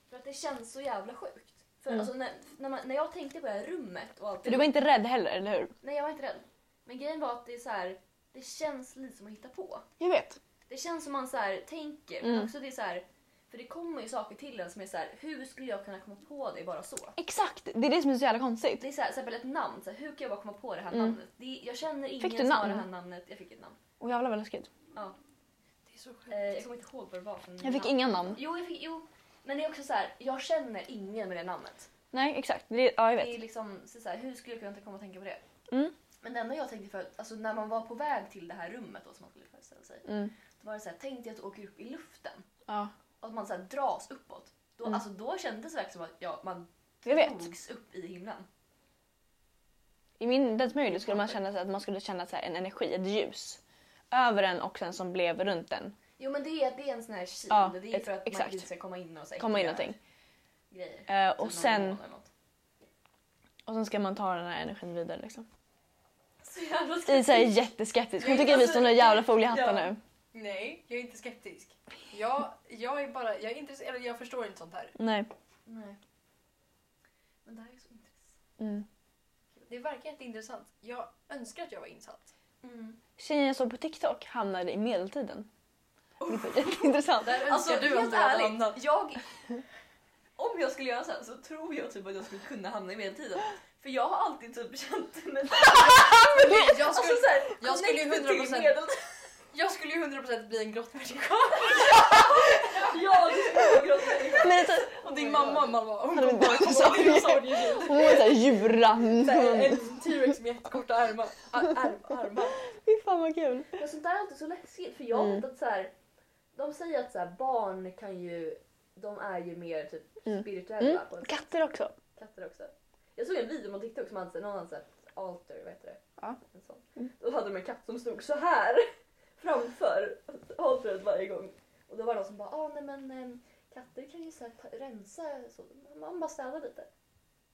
Speaker 4: för att det känns så jävla sjukt. För
Speaker 3: Mm.
Speaker 4: alltså när, när, man, när jag tänkte på det här rummet och allt
Speaker 3: För du var inte rädd heller, eller hur?
Speaker 4: Nej jag var inte rädd. Men grejen var att det är så här, det känns lite som att hitta på.
Speaker 3: Jag vet.
Speaker 4: Det känns som man så här tänker men
Speaker 3: Mm.
Speaker 4: också det är så här för det kommer ju saker till en som är så här hur skulle jag kunna komma på det bara så?
Speaker 3: Exakt! Det är det som är så jävla konstigt.
Speaker 4: Det är så här, till exempel ett namn, så här, hur kan jag bara komma på det här
Speaker 3: Mm.
Speaker 4: namnet? Det, är- jag känner ingen
Speaker 3: du
Speaker 4: som har
Speaker 3: namn?
Speaker 4: det här namnet. Jag fick ett namn.
Speaker 3: Och jävlar vad läskigt.
Speaker 2: Det är så sjukt.
Speaker 4: Eh, jag kommer inte ihåg vad det var för
Speaker 3: Jag fick
Speaker 4: namn.
Speaker 3: inga namn.
Speaker 4: Jo, jag fick, jo, men det är också så här, jag känner ingen med det namnet.
Speaker 3: Nej, exakt. Det, ja, jag
Speaker 4: Det är
Speaker 3: vet.
Speaker 4: liksom så så här, hur skulle jag kunna komma och tänka på det?
Speaker 3: Mm.
Speaker 4: Men det enda jag tänkte för alltså när man var på väg till det här rummet då som man skulle föreställa sig.
Speaker 3: Mm.
Speaker 4: Då var det så här, tänk dig att du åker upp i luften
Speaker 3: Ja,
Speaker 4: och att man så här dras uppåt. Då,
Speaker 3: Mm.
Speaker 4: alltså, då kändes det verkligen som att ja, man
Speaker 3: jag vet.
Speaker 4: drogs upp i himlen.
Speaker 3: I min dansmöjlighet skulle man känna så att man skulle känna så här en energi, ett ljus. Över en och sen som blev runt den.
Speaker 4: Jo men det är, det är en sån här kil.
Speaker 3: Ja,
Speaker 4: det är
Speaker 3: ex-
Speaker 4: för att
Speaker 3: exakt.
Speaker 4: man inte ska komma in och så här
Speaker 3: Komma in
Speaker 4: äckliga
Speaker 3: någonting.
Speaker 4: Grejer.
Speaker 3: Eh,
Speaker 4: Typ någon
Speaker 3: och, sen,
Speaker 4: demon eller något.
Speaker 3: och sen ska man ta den här energin vidare liksom.
Speaker 4: Så jävla skräck.
Speaker 3: Isa är jätteskeptisk. Hon
Speaker 2: Nej,
Speaker 3: tycker vi
Speaker 2: alltså,
Speaker 3: står några jävla foliehattar
Speaker 2: ja.
Speaker 3: nu.
Speaker 2: Nej, jag är inte skeptisk. Jag, jag är bara... Jag är intresserad. eller Jag förstår inte sånt här.
Speaker 3: Nej.
Speaker 4: Nej. Men det här är så intressant.
Speaker 3: Mm.
Speaker 2: Det verkar jätteintressant. Jag önskar att jag var insatt.
Speaker 4: Mm.
Speaker 3: Tjejen jag såg på TikTok hamnade i medeltiden. Det var jätteintressant.
Speaker 2: Där önskar
Speaker 4: Alltså
Speaker 2: du att
Speaker 4: helt
Speaker 2: du hade
Speaker 4: ärligt,
Speaker 2: hamnat. [laughs]
Speaker 4: jag... Om jag skulle göra så här så tror jag typ att jag skulle kunna hamna i medeltiden. För jag har alltid typ känt [laughs] mig så här-
Speaker 2: Jag
Speaker 4: alltså
Speaker 2: skulle,
Speaker 4: så här,
Speaker 2: jag skulle ju
Speaker 4: connected till
Speaker 2: 100%
Speaker 4: medeltiden.
Speaker 2: [laughs] jag skulle ju 100% bli en grottmänniska.
Speaker 4: Ja, det skulle jag gråta.
Speaker 3: Men alltså,
Speaker 2: Och din mamma Malva, hon
Speaker 3: Hade
Speaker 2: kommer
Speaker 3: vi
Speaker 2: bara komma
Speaker 3: dinosaurier?
Speaker 2: ihåg dinosaurier.
Speaker 3: hon var såhär
Speaker 4: [laughs]
Speaker 3: djurram.
Speaker 2: En T-rex med jättekorta ärmar. Ar- arm- armar.
Speaker 3: Fy fan vad kul.
Speaker 4: Men sånt där är alltid så läskigt för jag vet
Speaker 3: Mm.
Speaker 4: att så här, de säger att så här, barn kan ju de är ju mer typ
Speaker 3: Mm.
Speaker 4: spirituella.
Speaker 3: Mm.
Speaker 4: På ett sätt.
Speaker 3: Katter också.
Speaker 4: Katter också. Jag såg en video på TikTok som hade någon hade sett alter, vad heter det?
Speaker 3: Ja. Mm.
Speaker 4: En sån. Då hade de en katt som stod så här framför altaret varje gång. Och då var det någon som bara ah, nej men em, katter kan ju så här, ta- rensa så. Man bara städar lite.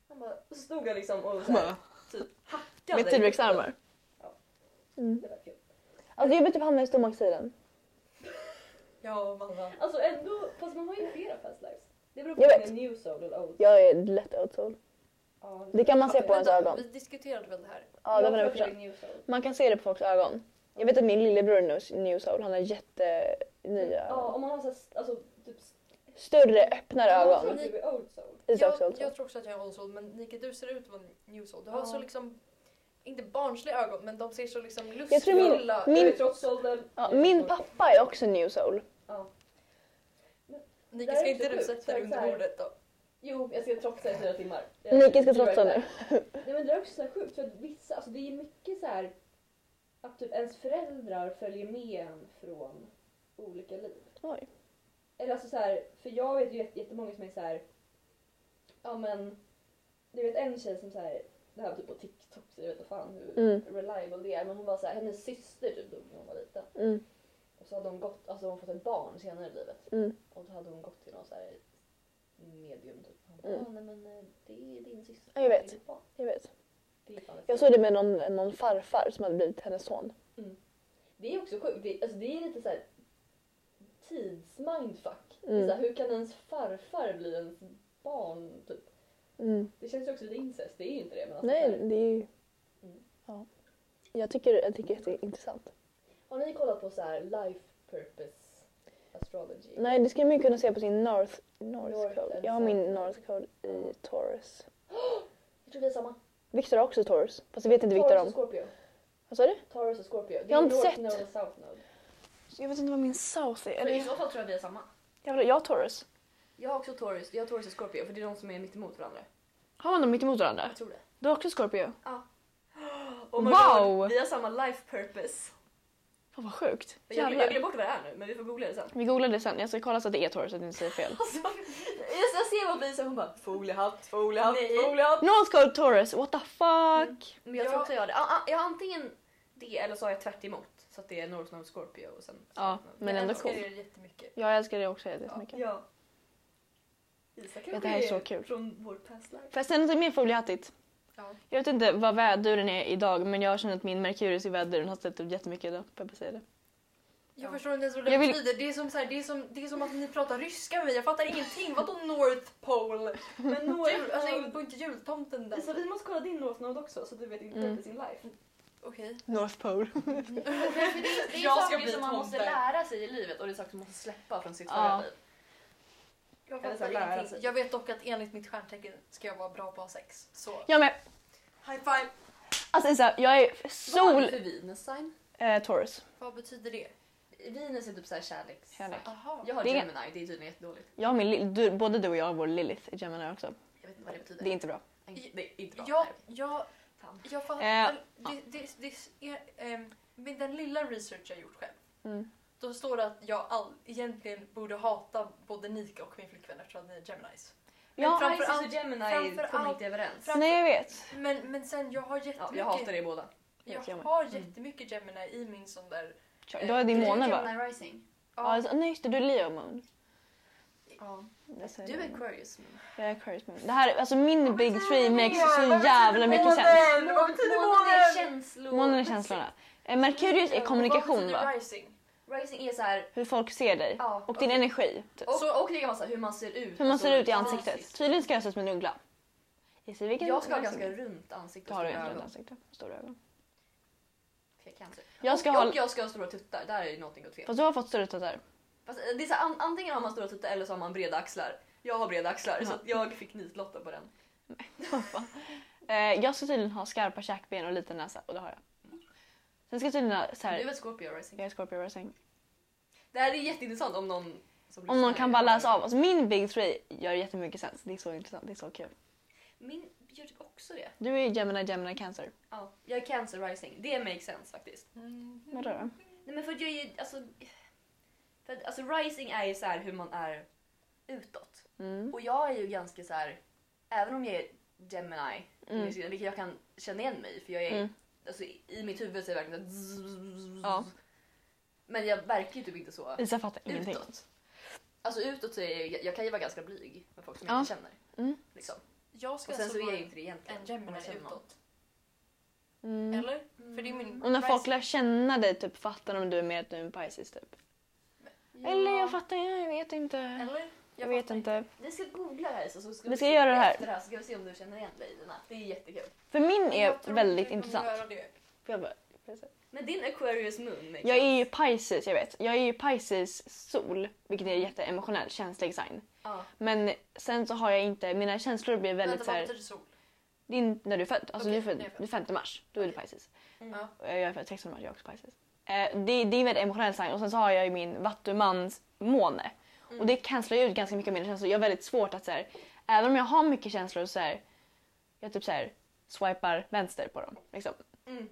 Speaker 4: Han bara, och så stod han liksom och så här,
Speaker 3: Bara,
Speaker 4: typ hackade.
Speaker 3: Med Mm. T-rex-armar.
Speaker 4: Det var kul.
Speaker 3: Alltså jag vet typ hamna i stormaktstiden.
Speaker 2: Ja, mamma.
Speaker 4: Alltså ändå, fast man har ju flera past lives. Det beror på
Speaker 3: Jag
Speaker 4: om
Speaker 3: vet.
Speaker 4: det är new soul eller old.
Speaker 3: Jag är lätt outsole.
Speaker 4: Ja,
Speaker 3: Det kan man se på ens
Speaker 2: Vänta,
Speaker 3: ögon.
Speaker 2: Vi diskuterade väl det här?
Speaker 3: Ja, det var det vi
Speaker 4: jag tror att
Speaker 3: försökte.
Speaker 4: jag är new soul.
Speaker 3: Man kan se det på folks ögon. Jag vet att min lillebror är nu- new soul. Han har
Speaker 4: Ja,
Speaker 3: jättenya,
Speaker 4: om man har så här, alltså typ...
Speaker 3: större, öppnare
Speaker 4: Jag tror
Speaker 3: ögon.
Speaker 4: att du är old soul.
Speaker 3: Isak
Speaker 2: jag,
Speaker 3: också alltså.
Speaker 2: jag tror också att jag är old soul, men Nika du ser ut att vara en new soul. Du har
Speaker 4: Ja.
Speaker 2: så liksom, inte barnsliga ögon, men de ser så liksom
Speaker 3: Jag tror min-
Speaker 2: lustfyllda
Speaker 4: Min... Jag
Speaker 3: Min-
Speaker 4: är trots åldern.
Speaker 3: Ja, min pappa är också new soul.
Speaker 2: Nika,
Speaker 4: Det här
Speaker 2: ska
Speaker 4: är
Speaker 2: inte
Speaker 3: typ
Speaker 2: du
Speaker 4: så sjukt,
Speaker 2: sätta
Speaker 4: för
Speaker 2: dig
Speaker 4: att så
Speaker 2: under
Speaker 4: här-
Speaker 2: bordet då?
Speaker 4: Jo, jag ska trotsa i fyra timmar. Jag-
Speaker 3: Nika ska
Speaker 4: jag-
Speaker 3: trotsa nu.
Speaker 4: Nej men det är också så här sjukt för att vissa, alltså det är mycket så här att typ ens föräldrar följer med en från olika liv.
Speaker 3: Oj.
Speaker 4: Eller alltså så här, för jag vet ju jätte- jättemånga som är så här, ja men, du vet en tjej som så här, det här var typ på TikTok så jag vet inte fan hur
Speaker 3: Mm.
Speaker 4: reliable det är, men hon var så här, hennes syster typ dog när hon var liten.
Speaker 3: Mm.
Speaker 4: Och så hade hon gått, alltså hon fått ett barn senare i livet.
Speaker 3: Mm.
Speaker 4: Och då hade hon gått till någon så här medium typ. Hon bara,
Speaker 3: Mm.
Speaker 4: "Ah, nej men eh, det är din syster.
Speaker 3: Ja, jag vet.
Speaker 4: Det är ditt barn."
Speaker 3: Jag vet.
Speaker 4: Det är fan läskigt.
Speaker 3: Jag såg det med någon, någon farfar som hade blivit hennes son.
Speaker 4: Det är också sjukt. Det, alltså det är lite så här tidsmindfuck. Det är
Speaker 3: Mm.
Speaker 4: så här, hur kan ens farfar bli ens barn? Typ?
Speaker 3: Mm.
Speaker 4: Det känns ju också lite incest. Det är ju inte det. Men alltså, så
Speaker 3: Nej,
Speaker 4: här,
Speaker 3: det är ju...
Speaker 4: Mm.
Speaker 3: Ja. Jag tycker, jag tycker att det är intressant.
Speaker 4: har ni kollat på så här life purpose astrology?
Speaker 3: Nej, det skulle man ju kunna se på sin North, North,
Speaker 4: North
Speaker 3: Code.
Speaker 4: and
Speaker 3: Jag har min
Speaker 4: South.
Speaker 3: North Code i Taurus.
Speaker 4: Jag tror vi är samma.
Speaker 3: Victor har också Taurus, fast det vet inte Victor
Speaker 4: Taurus
Speaker 3: om.
Speaker 4: och Scorpio.
Speaker 3: Vad sa du?
Speaker 4: Taurus och Scorpio. Det
Speaker 3: Jag har
Speaker 4: är
Speaker 3: inte
Speaker 4: North
Speaker 3: sett.
Speaker 4: Node och South Node.
Speaker 3: Jag vet inte vad min South är.
Speaker 5: För I
Speaker 3: Eller,
Speaker 5: så fall tror jag vi är samma.
Speaker 3: jag, har- jag har Taurus.
Speaker 4: Jag har också Taurus. Jag har Taurus och Scorpio för det är de som är mitt emot varandra.
Speaker 3: Har man dem mitt emot varandra?
Speaker 4: tror det.
Speaker 3: Du har också Scorpio.
Speaker 4: Oh
Speaker 3: my Wow! God,
Speaker 4: Vi har samma life purpose.
Speaker 3: Fan vad sjukt.
Speaker 4: Jag, jag
Speaker 3: Jävlar.
Speaker 4: glömde bort vad det är nu men vi får googla det sen.
Speaker 3: Vi googlar det sen. Jag ska kolla så att det är Taurus så att jag inte säger
Speaker 4: [laughs]
Speaker 3: fel.
Speaker 4: Alltså, jag, jag ser vad vi säger hon bara foliehatt, foliehatt,
Speaker 2: Nej.
Speaker 4: foliehatt.
Speaker 3: North Code Taurus, what the fuck?
Speaker 4: Men jag tror också jag har det. Ah, ah, Jag har antingen det eller så har jag tvärt emot. Så att det är North Node Scorpio och sen...
Speaker 3: Ja, men ändå
Speaker 2: Jag
Speaker 3: cool.
Speaker 2: älskar er jättemycket.
Speaker 3: Jag älskar det också jättemycket.
Speaker 4: Ja. Isak kanske
Speaker 3: Det här är så kul.
Speaker 4: från vår past life.
Speaker 3: Fast ändå mer foliehattigt.
Speaker 2: Ja.
Speaker 3: Jag vet inte vad väduren är idag men jag känner att min Merkurius i väduren har ställt upp jättemycket idag. Får jag bara säga det?
Speaker 2: Jag
Speaker 4: Ja.
Speaker 2: förstår inte ens vad det
Speaker 3: Jag vill-
Speaker 2: betyder. Det är, som så här, det, är som, det är som att ni pratar ryska med mig. Jag fattar ingenting. Vadå North Pole?
Speaker 4: [laughs] Men
Speaker 2: Jul, alltså
Speaker 4: North
Speaker 2: jag
Speaker 4: Node...
Speaker 2: på inte jultomten där.
Speaker 4: Alltså, Typ, vi måste kolla din North Node också så du vet inte
Speaker 3: Mm.
Speaker 4: sin life.
Speaker 2: Okej.
Speaker 3: North Pole.
Speaker 5: För det är, det är
Speaker 2: Jag ska
Speaker 5: saker
Speaker 2: bli
Speaker 5: som man måste
Speaker 2: tomte.
Speaker 5: lära sig.
Speaker 4: I livet och det är saker man måste släppa från sitt
Speaker 3: Ja.
Speaker 4: förra liv.
Speaker 2: Jag
Speaker 4: Eller så
Speaker 2: fattar
Speaker 4: lära
Speaker 2: ingenting.
Speaker 4: sig.
Speaker 2: Jag vet dock att enligt mitt stjärntecken ska jag vara bra på att ha sex. Så
Speaker 3: [laughs] Jag med.
Speaker 2: high five!
Speaker 3: Alltså Isa, jag är
Speaker 4: Vad har
Speaker 3: sol...
Speaker 4: du för Venus sign?
Speaker 3: Eh, Taurus.
Speaker 2: Vad betyder det?
Speaker 4: Venus är typ såhär kärleks...
Speaker 3: Kärlek.
Speaker 2: Aha.
Speaker 4: Jag har
Speaker 3: Det är-
Speaker 4: Gemini, det är tydligen jättedåligt.
Speaker 3: Jag och min, lill- du, både du och jag har vår Lilith i Gemini också.
Speaker 4: Jag vet inte vad det betyder.
Speaker 3: Det är inte bra.
Speaker 4: Nej, det är inte bra.
Speaker 2: Jag,
Speaker 4: Nej.
Speaker 2: jag,
Speaker 4: Fan.
Speaker 2: jag
Speaker 3: Eh,
Speaker 2: fattar. det, det, det är, ehm, med den lilla research jag gjort själv.
Speaker 3: Mm.
Speaker 2: Då står det att jag all, egentligen borde hata både Nika och min flickvän eftersom ni är Geminis. Men
Speaker 4: Ja,
Speaker 2: framför
Speaker 4: Isis
Speaker 2: allt-
Speaker 4: och Gemini
Speaker 2: framför
Speaker 4: kommer
Speaker 2: allt-
Speaker 4: inte överens.
Speaker 2: framför-
Speaker 3: Nej jag vet.
Speaker 2: Men, men sen jag har jättemycket,
Speaker 4: Ja, jag hatar er båda.
Speaker 2: jag
Speaker 3: Jag med.
Speaker 2: har jättemycket Gemini i min sån där...
Speaker 3: Kör. Du har din måne va?
Speaker 5: Gemini Rising.
Speaker 3: Ja,
Speaker 2: Ja,
Speaker 3: alltså, nej just det, du är Leo Moon.
Speaker 4: Ja.
Speaker 3: Jag säger
Speaker 4: Du
Speaker 3: det.
Speaker 4: är Aquarius.
Speaker 3: Jag är Aquarius Moon. Det här, alltså min Big Three makes så
Speaker 2: Vad betyder
Speaker 4: alltså,
Speaker 3: jävla mycket
Speaker 2: månen?
Speaker 3: sens.
Speaker 2: Vad betyder
Speaker 4: Månen
Speaker 2: månen?
Speaker 4: är känslor.
Speaker 3: Månen är känslorna. Eh, Merkurius är
Speaker 2: Vad
Speaker 3: kommunikation
Speaker 2: betyder
Speaker 3: va?
Speaker 2: rising?
Speaker 4: Rising är så här,
Speaker 3: Hur folk ser dig.
Speaker 4: ja.
Speaker 3: Och din energi. Typ.
Speaker 4: Och,
Speaker 2: Så-
Speaker 4: och det kan vara så här, hur man ser ut.
Speaker 3: Hur man
Speaker 4: Alltså,
Speaker 3: ser ut i
Speaker 4: ja,
Speaker 3: ansiktet.
Speaker 4: precis.
Speaker 3: Tydligen ska jag se ut som en uggla. Jag ser vilken
Speaker 4: Jag ska ha
Speaker 3: vilken-
Speaker 4: ganska runt ansikte
Speaker 3: Då
Speaker 4: och
Speaker 3: har du
Speaker 4: stora
Speaker 3: egentligen ett
Speaker 4: ögon.
Speaker 3: ansikte. Stora ögon.
Speaker 4: för jag kan se.
Speaker 3: Jag ska
Speaker 4: och,
Speaker 3: ha...
Speaker 4: och jag ska ha stora tuttar. Där är ju någonting gått fel.
Speaker 3: Fast du har fått större tuttar. [laughs]
Speaker 4: Fast, eh, det är så här, an, antingen har man stora tuttar eller så har man breda axlar. Jag har breda axlar så
Speaker 3: Ja.
Speaker 4: att jag fick nitlotta på den.
Speaker 3: Eh, Jag ska tydligen ha skarpa käkben och liten näsa och det har jag. Sen ska jag tydligen ha så
Speaker 4: Du är
Speaker 3: här.
Speaker 4: väl Scorpio Rising?
Speaker 3: Jag är Scorpio rising.
Speaker 4: Det här är jätteintressant om någon som
Speaker 3: Om någon
Speaker 4: lyssnar
Speaker 3: kan
Speaker 4: är-
Speaker 3: bara läsa av oss. Min Big Three gör jättemycket sens. Det är så intressant. Det är så kul.
Speaker 4: Min gör typ också det.
Speaker 3: Du är Gemini, Gemini, Cancer.
Speaker 4: Ja, jag är Cancer Rising. Det makes sense faktiskt.
Speaker 2: Mm,
Speaker 3: Vadå då?
Speaker 4: Nej men för att jag är ju, alltså... För att, alltså rising är ju så här hur man är utåt.
Speaker 3: Mm.
Speaker 4: Och jag är ju ganska så här, även om jag är Gemini,
Speaker 3: Mm.
Speaker 4: vilket jag kan känna igen mig i, för jag är,
Speaker 3: Mm.
Speaker 4: alltså, i i mitt huvud så är jag verkligen så här,
Speaker 3: Ja.
Speaker 4: Men jag verkar ju typ inte så
Speaker 3: Isa fattar ingenting.
Speaker 4: utåt. Alltså utåt så är jag, ju- jag kan ju vara ganska blyg med folk som
Speaker 3: Ja.
Speaker 4: jag inte känner.
Speaker 3: Mm.
Speaker 4: Liksom.
Speaker 2: Jag ska
Speaker 4: Och sen så
Speaker 2: alltså
Speaker 4: är jag
Speaker 2: vara
Speaker 4: ju inte det egentligen.
Speaker 2: en
Speaker 4: om
Speaker 2: Gemini
Speaker 4: jag känner någon.
Speaker 2: utåt.
Speaker 3: Mm.
Speaker 2: Eller? För det är min...
Speaker 3: Och när folk lär känna dig typ fattar de du är mer att du är en Pisces typ. Eller jag fattar, jag vet inte.
Speaker 2: Eller?
Speaker 3: Jag vet inte.
Speaker 4: Vi ska googla det här så, så ska
Speaker 3: Vi ska göra det här.
Speaker 4: efter här så ska vi se om du känner igen dig i dina. Det är jättekul.
Speaker 3: För min
Speaker 2: Jag
Speaker 3: är
Speaker 2: tror
Speaker 3: väldigt
Speaker 2: inte jag kommer
Speaker 3: intressant.
Speaker 2: göra det.
Speaker 3: Får jag bara- får jag säga?
Speaker 4: Men din Aquarius Moon. Mikael.
Speaker 3: Jag är ju Pisces, jag vet. Jag är ju Pisces sol, vilket är jätteemotionell, känslig sign.
Speaker 4: Ja.
Speaker 3: Men sen så har jag inte, mina känslor blir väldigt
Speaker 2: Vänta,
Speaker 3: så
Speaker 2: vad
Speaker 3: här,
Speaker 2: betyder sol?
Speaker 3: det är inte när du är född, alltså
Speaker 2: Okej,
Speaker 3: du är född
Speaker 2: när jag är född.
Speaker 3: den 5 mars, då är du Pisces.
Speaker 4: Mm.
Speaker 2: Ja.
Speaker 3: Och Jag är född 16 mars, jag är också Pisces. Eh, det, det är en väldigt emotionell sign och sen så har jag ju min vattumans måne.
Speaker 4: Mm.
Speaker 3: Och det cancelar ju ut ganska mycket av mina känslor. Jag har väldigt svårt att så här, även om jag har mycket känslor så här, jag typ så här swipar vänster på dem. Liksom.
Speaker 4: Mm.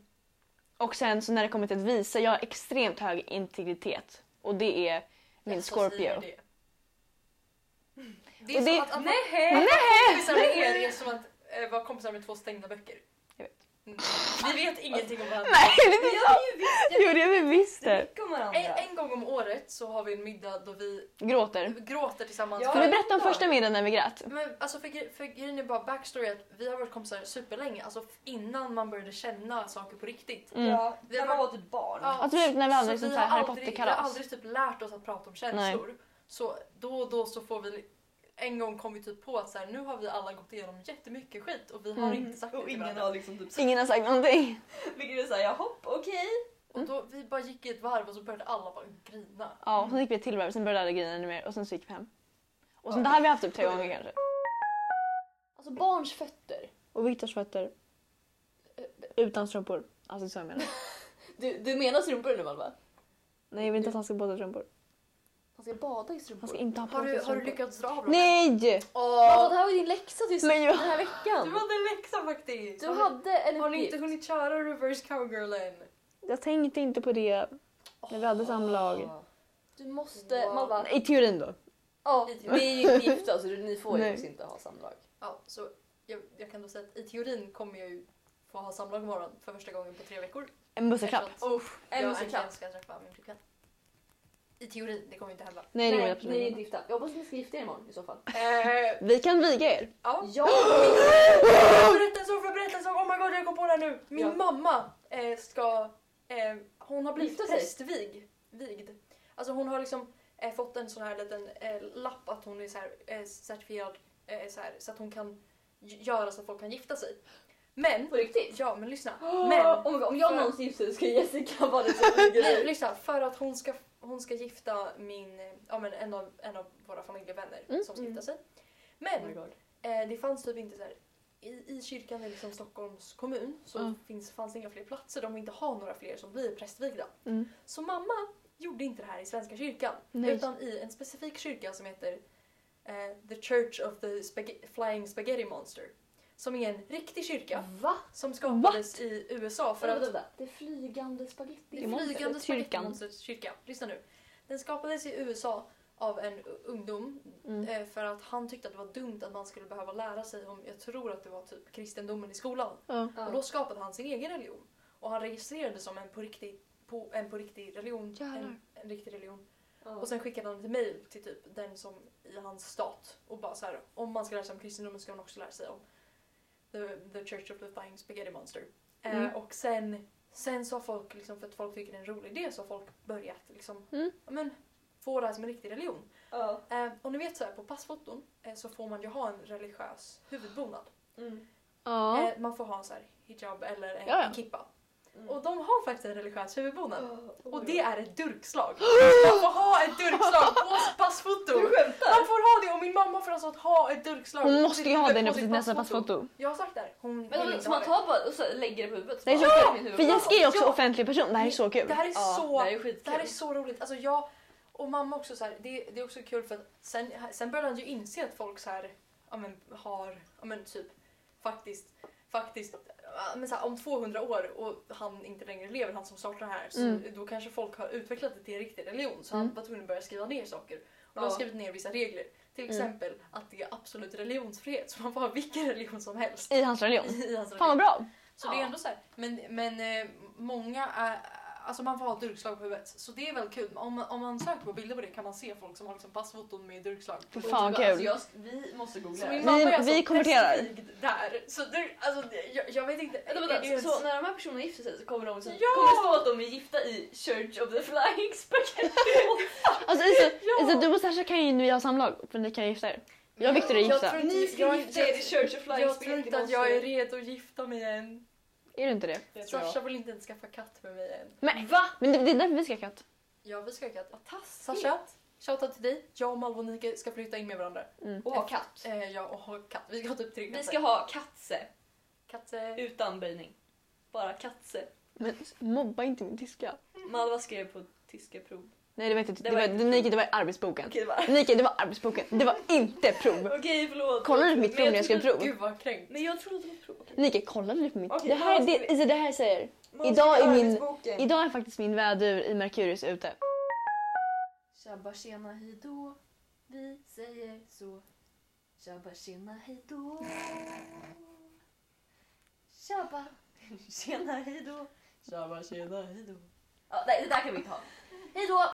Speaker 3: Och sen så när det kommer till att visa, jag har extremt hög integritet. Och det är min
Speaker 2: Alltså, säger
Speaker 3: [laughs] Scorpio.
Speaker 2: Det. Det är
Speaker 3: Och
Speaker 2: som
Speaker 3: det-
Speaker 2: att, att nej. kompisar med er är som att eh, vara kompisar med två stängda böcker.
Speaker 3: Jag vet.
Speaker 2: Mm. Vi vet ingenting
Speaker 3: [laughs]
Speaker 2: om varandra.
Speaker 3: Nej, det
Speaker 4: Vi
Speaker 3: är
Speaker 4: gör ju visst
Speaker 3: Jo, det är vi visst det.
Speaker 4: jättemycket om varandra.
Speaker 2: En, en gång om året så har vi en middag då vi
Speaker 3: Gråter.
Speaker 2: gråter tillsammans.
Speaker 4: Ja.
Speaker 3: Ska vi berätta om första middagen när vi grät?
Speaker 2: Men alltså för, gre- för grejen är bara backstory att vi har varit kompisar superlänge, alltså f- innan man började känna saker på riktigt.
Speaker 3: Mm.
Speaker 4: Ja,
Speaker 2: Vi har
Speaker 4: när man var typ barn.
Speaker 2: Ja,
Speaker 3: Alltså, du vet, när vi hade
Speaker 2: så
Speaker 3: liksom
Speaker 2: vi
Speaker 3: så här
Speaker 2: har
Speaker 3: Harry
Speaker 2: aldrig- Vi har
Speaker 3: Potter-kalas.
Speaker 2: aldrig typ lärt oss att prata om känslor. Så då och då så får vi, en gång kom vi typ på att så här, nu har vi alla gått igenom jättemycket skit och vi har
Speaker 3: Mm.
Speaker 2: inte sagt det
Speaker 4: Och
Speaker 2: till
Speaker 4: ingen
Speaker 2: varandra.
Speaker 4: har liksom typ
Speaker 3: Ingen har sagt någonting.
Speaker 4: Vilket är såhär, jag hopp, okej.
Speaker 2: Och då, vi bara gick i ett varv och så började alla bara grina.
Speaker 3: Ja, och sen gick vi ett till varv, sen började alla grina ännu mer och sen så gick vi hem. Och sen det här har vi haft typ tre gånger kanske.
Speaker 4: Alltså barns fötter.
Speaker 3: Och Viktors fötter. eh, Utan strumpor. Alltså så jag menar.
Speaker 4: Du, du menar strumpor nu Malva?
Speaker 3: Nej, jag vill inte att han ska ha båda strumpor.
Speaker 4: Han ska bada i strumpor.
Speaker 3: Han ska inte ha på
Speaker 2: Har
Speaker 3: sig
Speaker 2: du, har du
Speaker 3: strumpor.
Speaker 2: lyckats dra av dem?
Speaker 3: Nej!
Speaker 4: Malva,
Speaker 2: Åh,
Speaker 4: Alltså, det här var ju din läxa till
Speaker 3: Men jag-
Speaker 4: den här
Speaker 2: Du
Speaker 4: veckan.
Speaker 2: hade en läxa faktiskt!
Speaker 4: Du
Speaker 2: Har ni-
Speaker 4: hade en
Speaker 2: Har ni inte
Speaker 4: uppgift.
Speaker 2: hunnit köra reverse cowgirl än?
Speaker 3: Jag tänkte inte på det när vi hade samlag.
Speaker 4: Du måste,
Speaker 2: Wow.
Speaker 4: Malva.
Speaker 3: I teorin då.
Speaker 4: Ja, vi är ju gifta så ni får ju
Speaker 3: Nej.
Speaker 4: faktiskt inte ha samlag.
Speaker 2: Ja, så jag, jag kan då säga att i teorin kommer jag ju få ha samlag imorgon för första gången på tre veckor.
Speaker 3: En busseklapp.
Speaker 2: Eftersom
Speaker 4: en
Speaker 2: jag
Speaker 4: musiklapp.
Speaker 2: äntligen ska träffa min flickvän. I teorin, det kommer ju inte hända.
Speaker 3: Nej, det går
Speaker 4: Nej, ni är
Speaker 3: absolut
Speaker 4: inte
Speaker 3: inte.
Speaker 4: gifta. Jag hoppas att ni ska gifta er imorgon i så fall.
Speaker 2: Eh,
Speaker 3: Vi kan viga er.
Speaker 2: ja.
Speaker 4: [gasps] Ja!
Speaker 2: Berättelse för berättelse om, oh my god jag kom på det här nu! Min
Speaker 4: Ja.
Speaker 2: mamma eh, ska, eh, hon har
Speaker 4: Gifta
Speaker 2: blivit
Speaker 4: sig.
Speaker 2: prästvig. Vigd. Alltså hon har liksom eh, fått en sån här liten eh, lapp att hon är så här, eh, certifierad eh, så, här, så att hon kan g- göra så att folk kan gifta sig. Men,
Speaker 4: På riktigt?
Speaker 2: ja men lyssna. [gasps] Men
Speaker 4: Men om, om jag någonsin gifter mig ska Jessica vara den [laughs] som
Speaker 2: Nej,
Speaker 4: ligger i.
Speaker 2: lyssna. För att hon ska, hon ska gifta min, eh, ja, men en, av, en av våra familjevänner som ska gifta sig.
Speaker 4: Mm, Oh my
Speaker 2: Men
Speaker 4: god.
Speaker 2: eh, det fanns typ inte så här. I, I kyrkan i liksom Stockholms kommun så
Speaker 3: Mm.
Speaker 2: finns, fanns det inga fler platser. De vill inte ha några fler som blir prästvigda.
Speaker 3: Mm.
Speaker 2: Så mamma gjorde inte det här i Svenska kyrkan.
Speaker 3: Nej.
Speaker 2: Utan i en specifik kyrka som heter eh, The Church of the Spag- Flying Spaghetti Monster. Som är en riktig kyrka
Speaker 4: Va?
Speaker 2: som skapades i USA för
Speaker 4: Vänta,
Speaker 2: att
Speaker 4: vänta. Det flygande spagetti.
Speaker 2: det
Speaker 3: Det monstret,
Speaker 2: flygande
Speaker 3: kyrkan.
Speaker 2: spagettimonstrets kyrka. Lyssna nu. Den skapades i USA av en u- ungdom
Speaker 3: Mm.
Speaker 2: eh, för att han tyckte att det var dumt att man skulle behöva lära sig om, jag tror att det var typ kristendomen i skolan.
Speaker 3: Ja.
Speaker 4: Ja.
Speaker 2: Och då skapade han sin egen religion. Och han registrerade som en på riktigt, på, en på riktig religion.
Speaker 3: Jävlar.
Speaker 2: En, en riktig religion.
Speaker 4: Ja.
Speaker 2: Och sen skickade han ett mail till typ den som i hans stat och bara så här, om man ska lära sig om kristendomen ska man också lära sig om The, the Church of the Flying Spaghetti Monster.
Speaker 3: Mm.
Speaker 2: Eh, och sen, sen så har folk, liksom, för att folk tycker det är en rolig idé, så har folk börjat liksom,
Speaker 3: Mm.
Speaker 2: ja, men, få det här som en riktig religion.
Speaker 4: Ja.
Speaker 2: Eh, och ni vet så här, på passfoton eh, så får man ju ha en religiös huvudbonad.
Speaker 4: Mm.
Speaker 3: Ja.
Speaker 2: Eh, man får ha en så här hijab eller en,
Speaker 3: Ja, ja.
Speaker 2: en kippa.
Speaker 4: Mm.
Speaker 2: Och de har faktiskt en religiös huvudbonad.
Speaker 4: Oh,
Speaker 2: Och det är
Speaker 3: [gasps]
Speaker 2: ett durkslag. Man får ha ett durkslag
Speaker 3: [laughs]
Speaker 2: på sitt passfoto!
Speaker 4: Du skämtar?
Speaker 2: Man får ha det och min mamma får alltså att ha ett durkslag
Speaker 3: Hon
Speaker 2: på
Speaker 3: måste
Speaker 2: sitt
Speaker 3: ju ha
Speaker 2: huvud
Speaker 3: den nu
Speaker 2: på
Speaker 3: på sitt nästa
Speaker 2: passfoto.
Speaker 3: passfoto.
Speaker 2: Jag har sagt det här. Hon
Speaker 4: Men
Speaker 2: vill
Speaker 4: alltså,
Speaker 2: inte
Speaker 4: så
Speaker 2: ha
Speaker 4: man
Speaker 2: det.
Speaker 4: tar bara och så lägger det på huvudet?
Speaker 3: Det är så
Speaker 4: Bara,
Speaker 3: kul. För
Speaker 4: [laughs]
Speaker 3: Jessica är också
Speaker 2: Ja.
Speaker 3: offentlig person. Det här är så kul.
Speaker 2: Det här är
Speaker 4: Ja,
Speaker 2: så
Speaker 4: det här är skitkul.
Speaker 2: Det här är så roligt. Alltså jag och mamma också så här, det, det är också kul för att sen, sen började han ju inse att folk så här, ja, men, har, ja, men, typ faktiskt, faktiskt ja, men, så här, om 200 år och han inte längre lever, han som startar det här, så,
Speaker 3: Mm.
Speaker 2: då kanske folk har utvecklat det till en riktig religion. Så
Speaker 3: Mm.
Speaker 2: han var tvungen att börja skriva ner saker. Och de har
Speaker 4: Ja.
Speaker 2: skrivit ner vissa regler. Till
Speaker 3: Mm.
Speaker 2: exempel att det är absolut religionsfrihet så man får ha vilken religion som helst.
Speaker 3: I hans religion.
Speaker 2: I
Speaker 4: Alltså,
Speaker 2: hans
Speaker 3: Fan vad bra!
Speaker 2: Så det är
Speaker 5: Ja.
Speaker 2: ändå så här. Men, men eh, många är, alltså man får ha durkslag på huvudet så det är väl kul. Men Om, man- om man söker på bilder på det kan man se folk som har liksom passfoton med durkslag.
Speaker 3: Fy fan vad kul.
Speaker 4: Alltså, vi måste
Speaker 2: Så
Speaker 4: googla
Speaker 2: min
Speaker 4: det.
Speaker 2: mamma
Speaker 3: Vi-
Speaker 2: är alltså
Speaker 3: vi konverterar.
Speaker 2: prästvigd där. Så det, alltså, det- jag, jag vet inte.
Speaker 4: Vänta,
Speaker 2: är det
Speaker 4: vänta, så
Speaker 2: ens-
Speaker 4: när de här personerna gifter sig så kommer de så
Speaker 2: Ja!
Speaker 4: kommer det stå att de är gifta i Church of the Flying Spaghetti.
Speaker 3: Alltså Isa, Isa du och Sasha kan ju nu ha samlag för ni kan ju gifta er. Jag och Viktor är
Speaker 2: Jag
Speaker 3: gifta.
Speaker 2: tror
Speaker 4: Ni
Speaker 2: inte,
Speaker 4: ska
Speaker 2: jag,
Speaker 4: gifta er i
Speaker 2: jag,
Speaker 4: Church of Flying
Speaker 2: jag tror
Speaker 4: Spaghetti.
Speaker 2: inte att jag är redo att gifta mig än.
Speaker 3: Är du inte det?
Speaker 2: Sasha vill inte ens skaffa katt med mig än.
Speaker 3: Nej.
Speaker 4: Ah.
Speaker 3: Va? Men det, det är därför vi ska ha katt.
Speaker 2: Ja, vi ska ha katt. Sasha, shoutout till dig. Jag och Malva och Nike ska flytta in med varandra.
Speaker 3: Mm.
Speaker 4: Och ha katt.
Speaker 2: Eh, ja, och ha katt. Vi ska ha typ tre katter.
Speaker 4: Vi ska ha katse
Speaker 2: katter.
Speaker 4: utan böjning. Bara katse.
Speaker 3: Men mobba inte min tyska.
Speaker 4: Malva skrev på tyska prov.
Speaker 3: Nej det var inte, det,
Speaker 4: Det
Speaker 3: var,
Speaker 4: var
Speaker 3: det, Nike, det var arbetsboken.
Speaker 4: Okej, det var...
Speaker 3: Nike det var arbetsboken, det var inte prov.
Speaker 4: Okej, förlåt.
Speaker 3: Kollade du på mitt prov
Speaker 4: Men jag
Speaker 3: när jag skrev prov?
Speaker 2: Gud vad kränkt.
Speaker 4: Men jag trodde det var prov.
Speaker 3: Nike kollade du på mitt
Speaker 4: Okej,
Speaker 3: det här, är
Speaker 4: vad
Speaker 3: det,
Speaker 4: ska
Speaker 3: Isa det här säger.
Speaker 4: Man
Speaker 3: Idag
Speaker 4: ska
Speaker 3: är
Speaker 4: göra
Speaker 3: min-
Speaker 4: arbetsboken.
Speaker 3: Idag är faktiskt min vädur i Merkurius ute.
Speaker 5: Tjabba tjena hejdå, vi säger så. Tjabba tjena hejdå. Tjabba.
Speaker 4: Tjena, hejdå.
Speaker 2: Tjaba tjena, hejdå.
Speaker 4: Ja, nej, det där kan vi inte ha. Hejdå!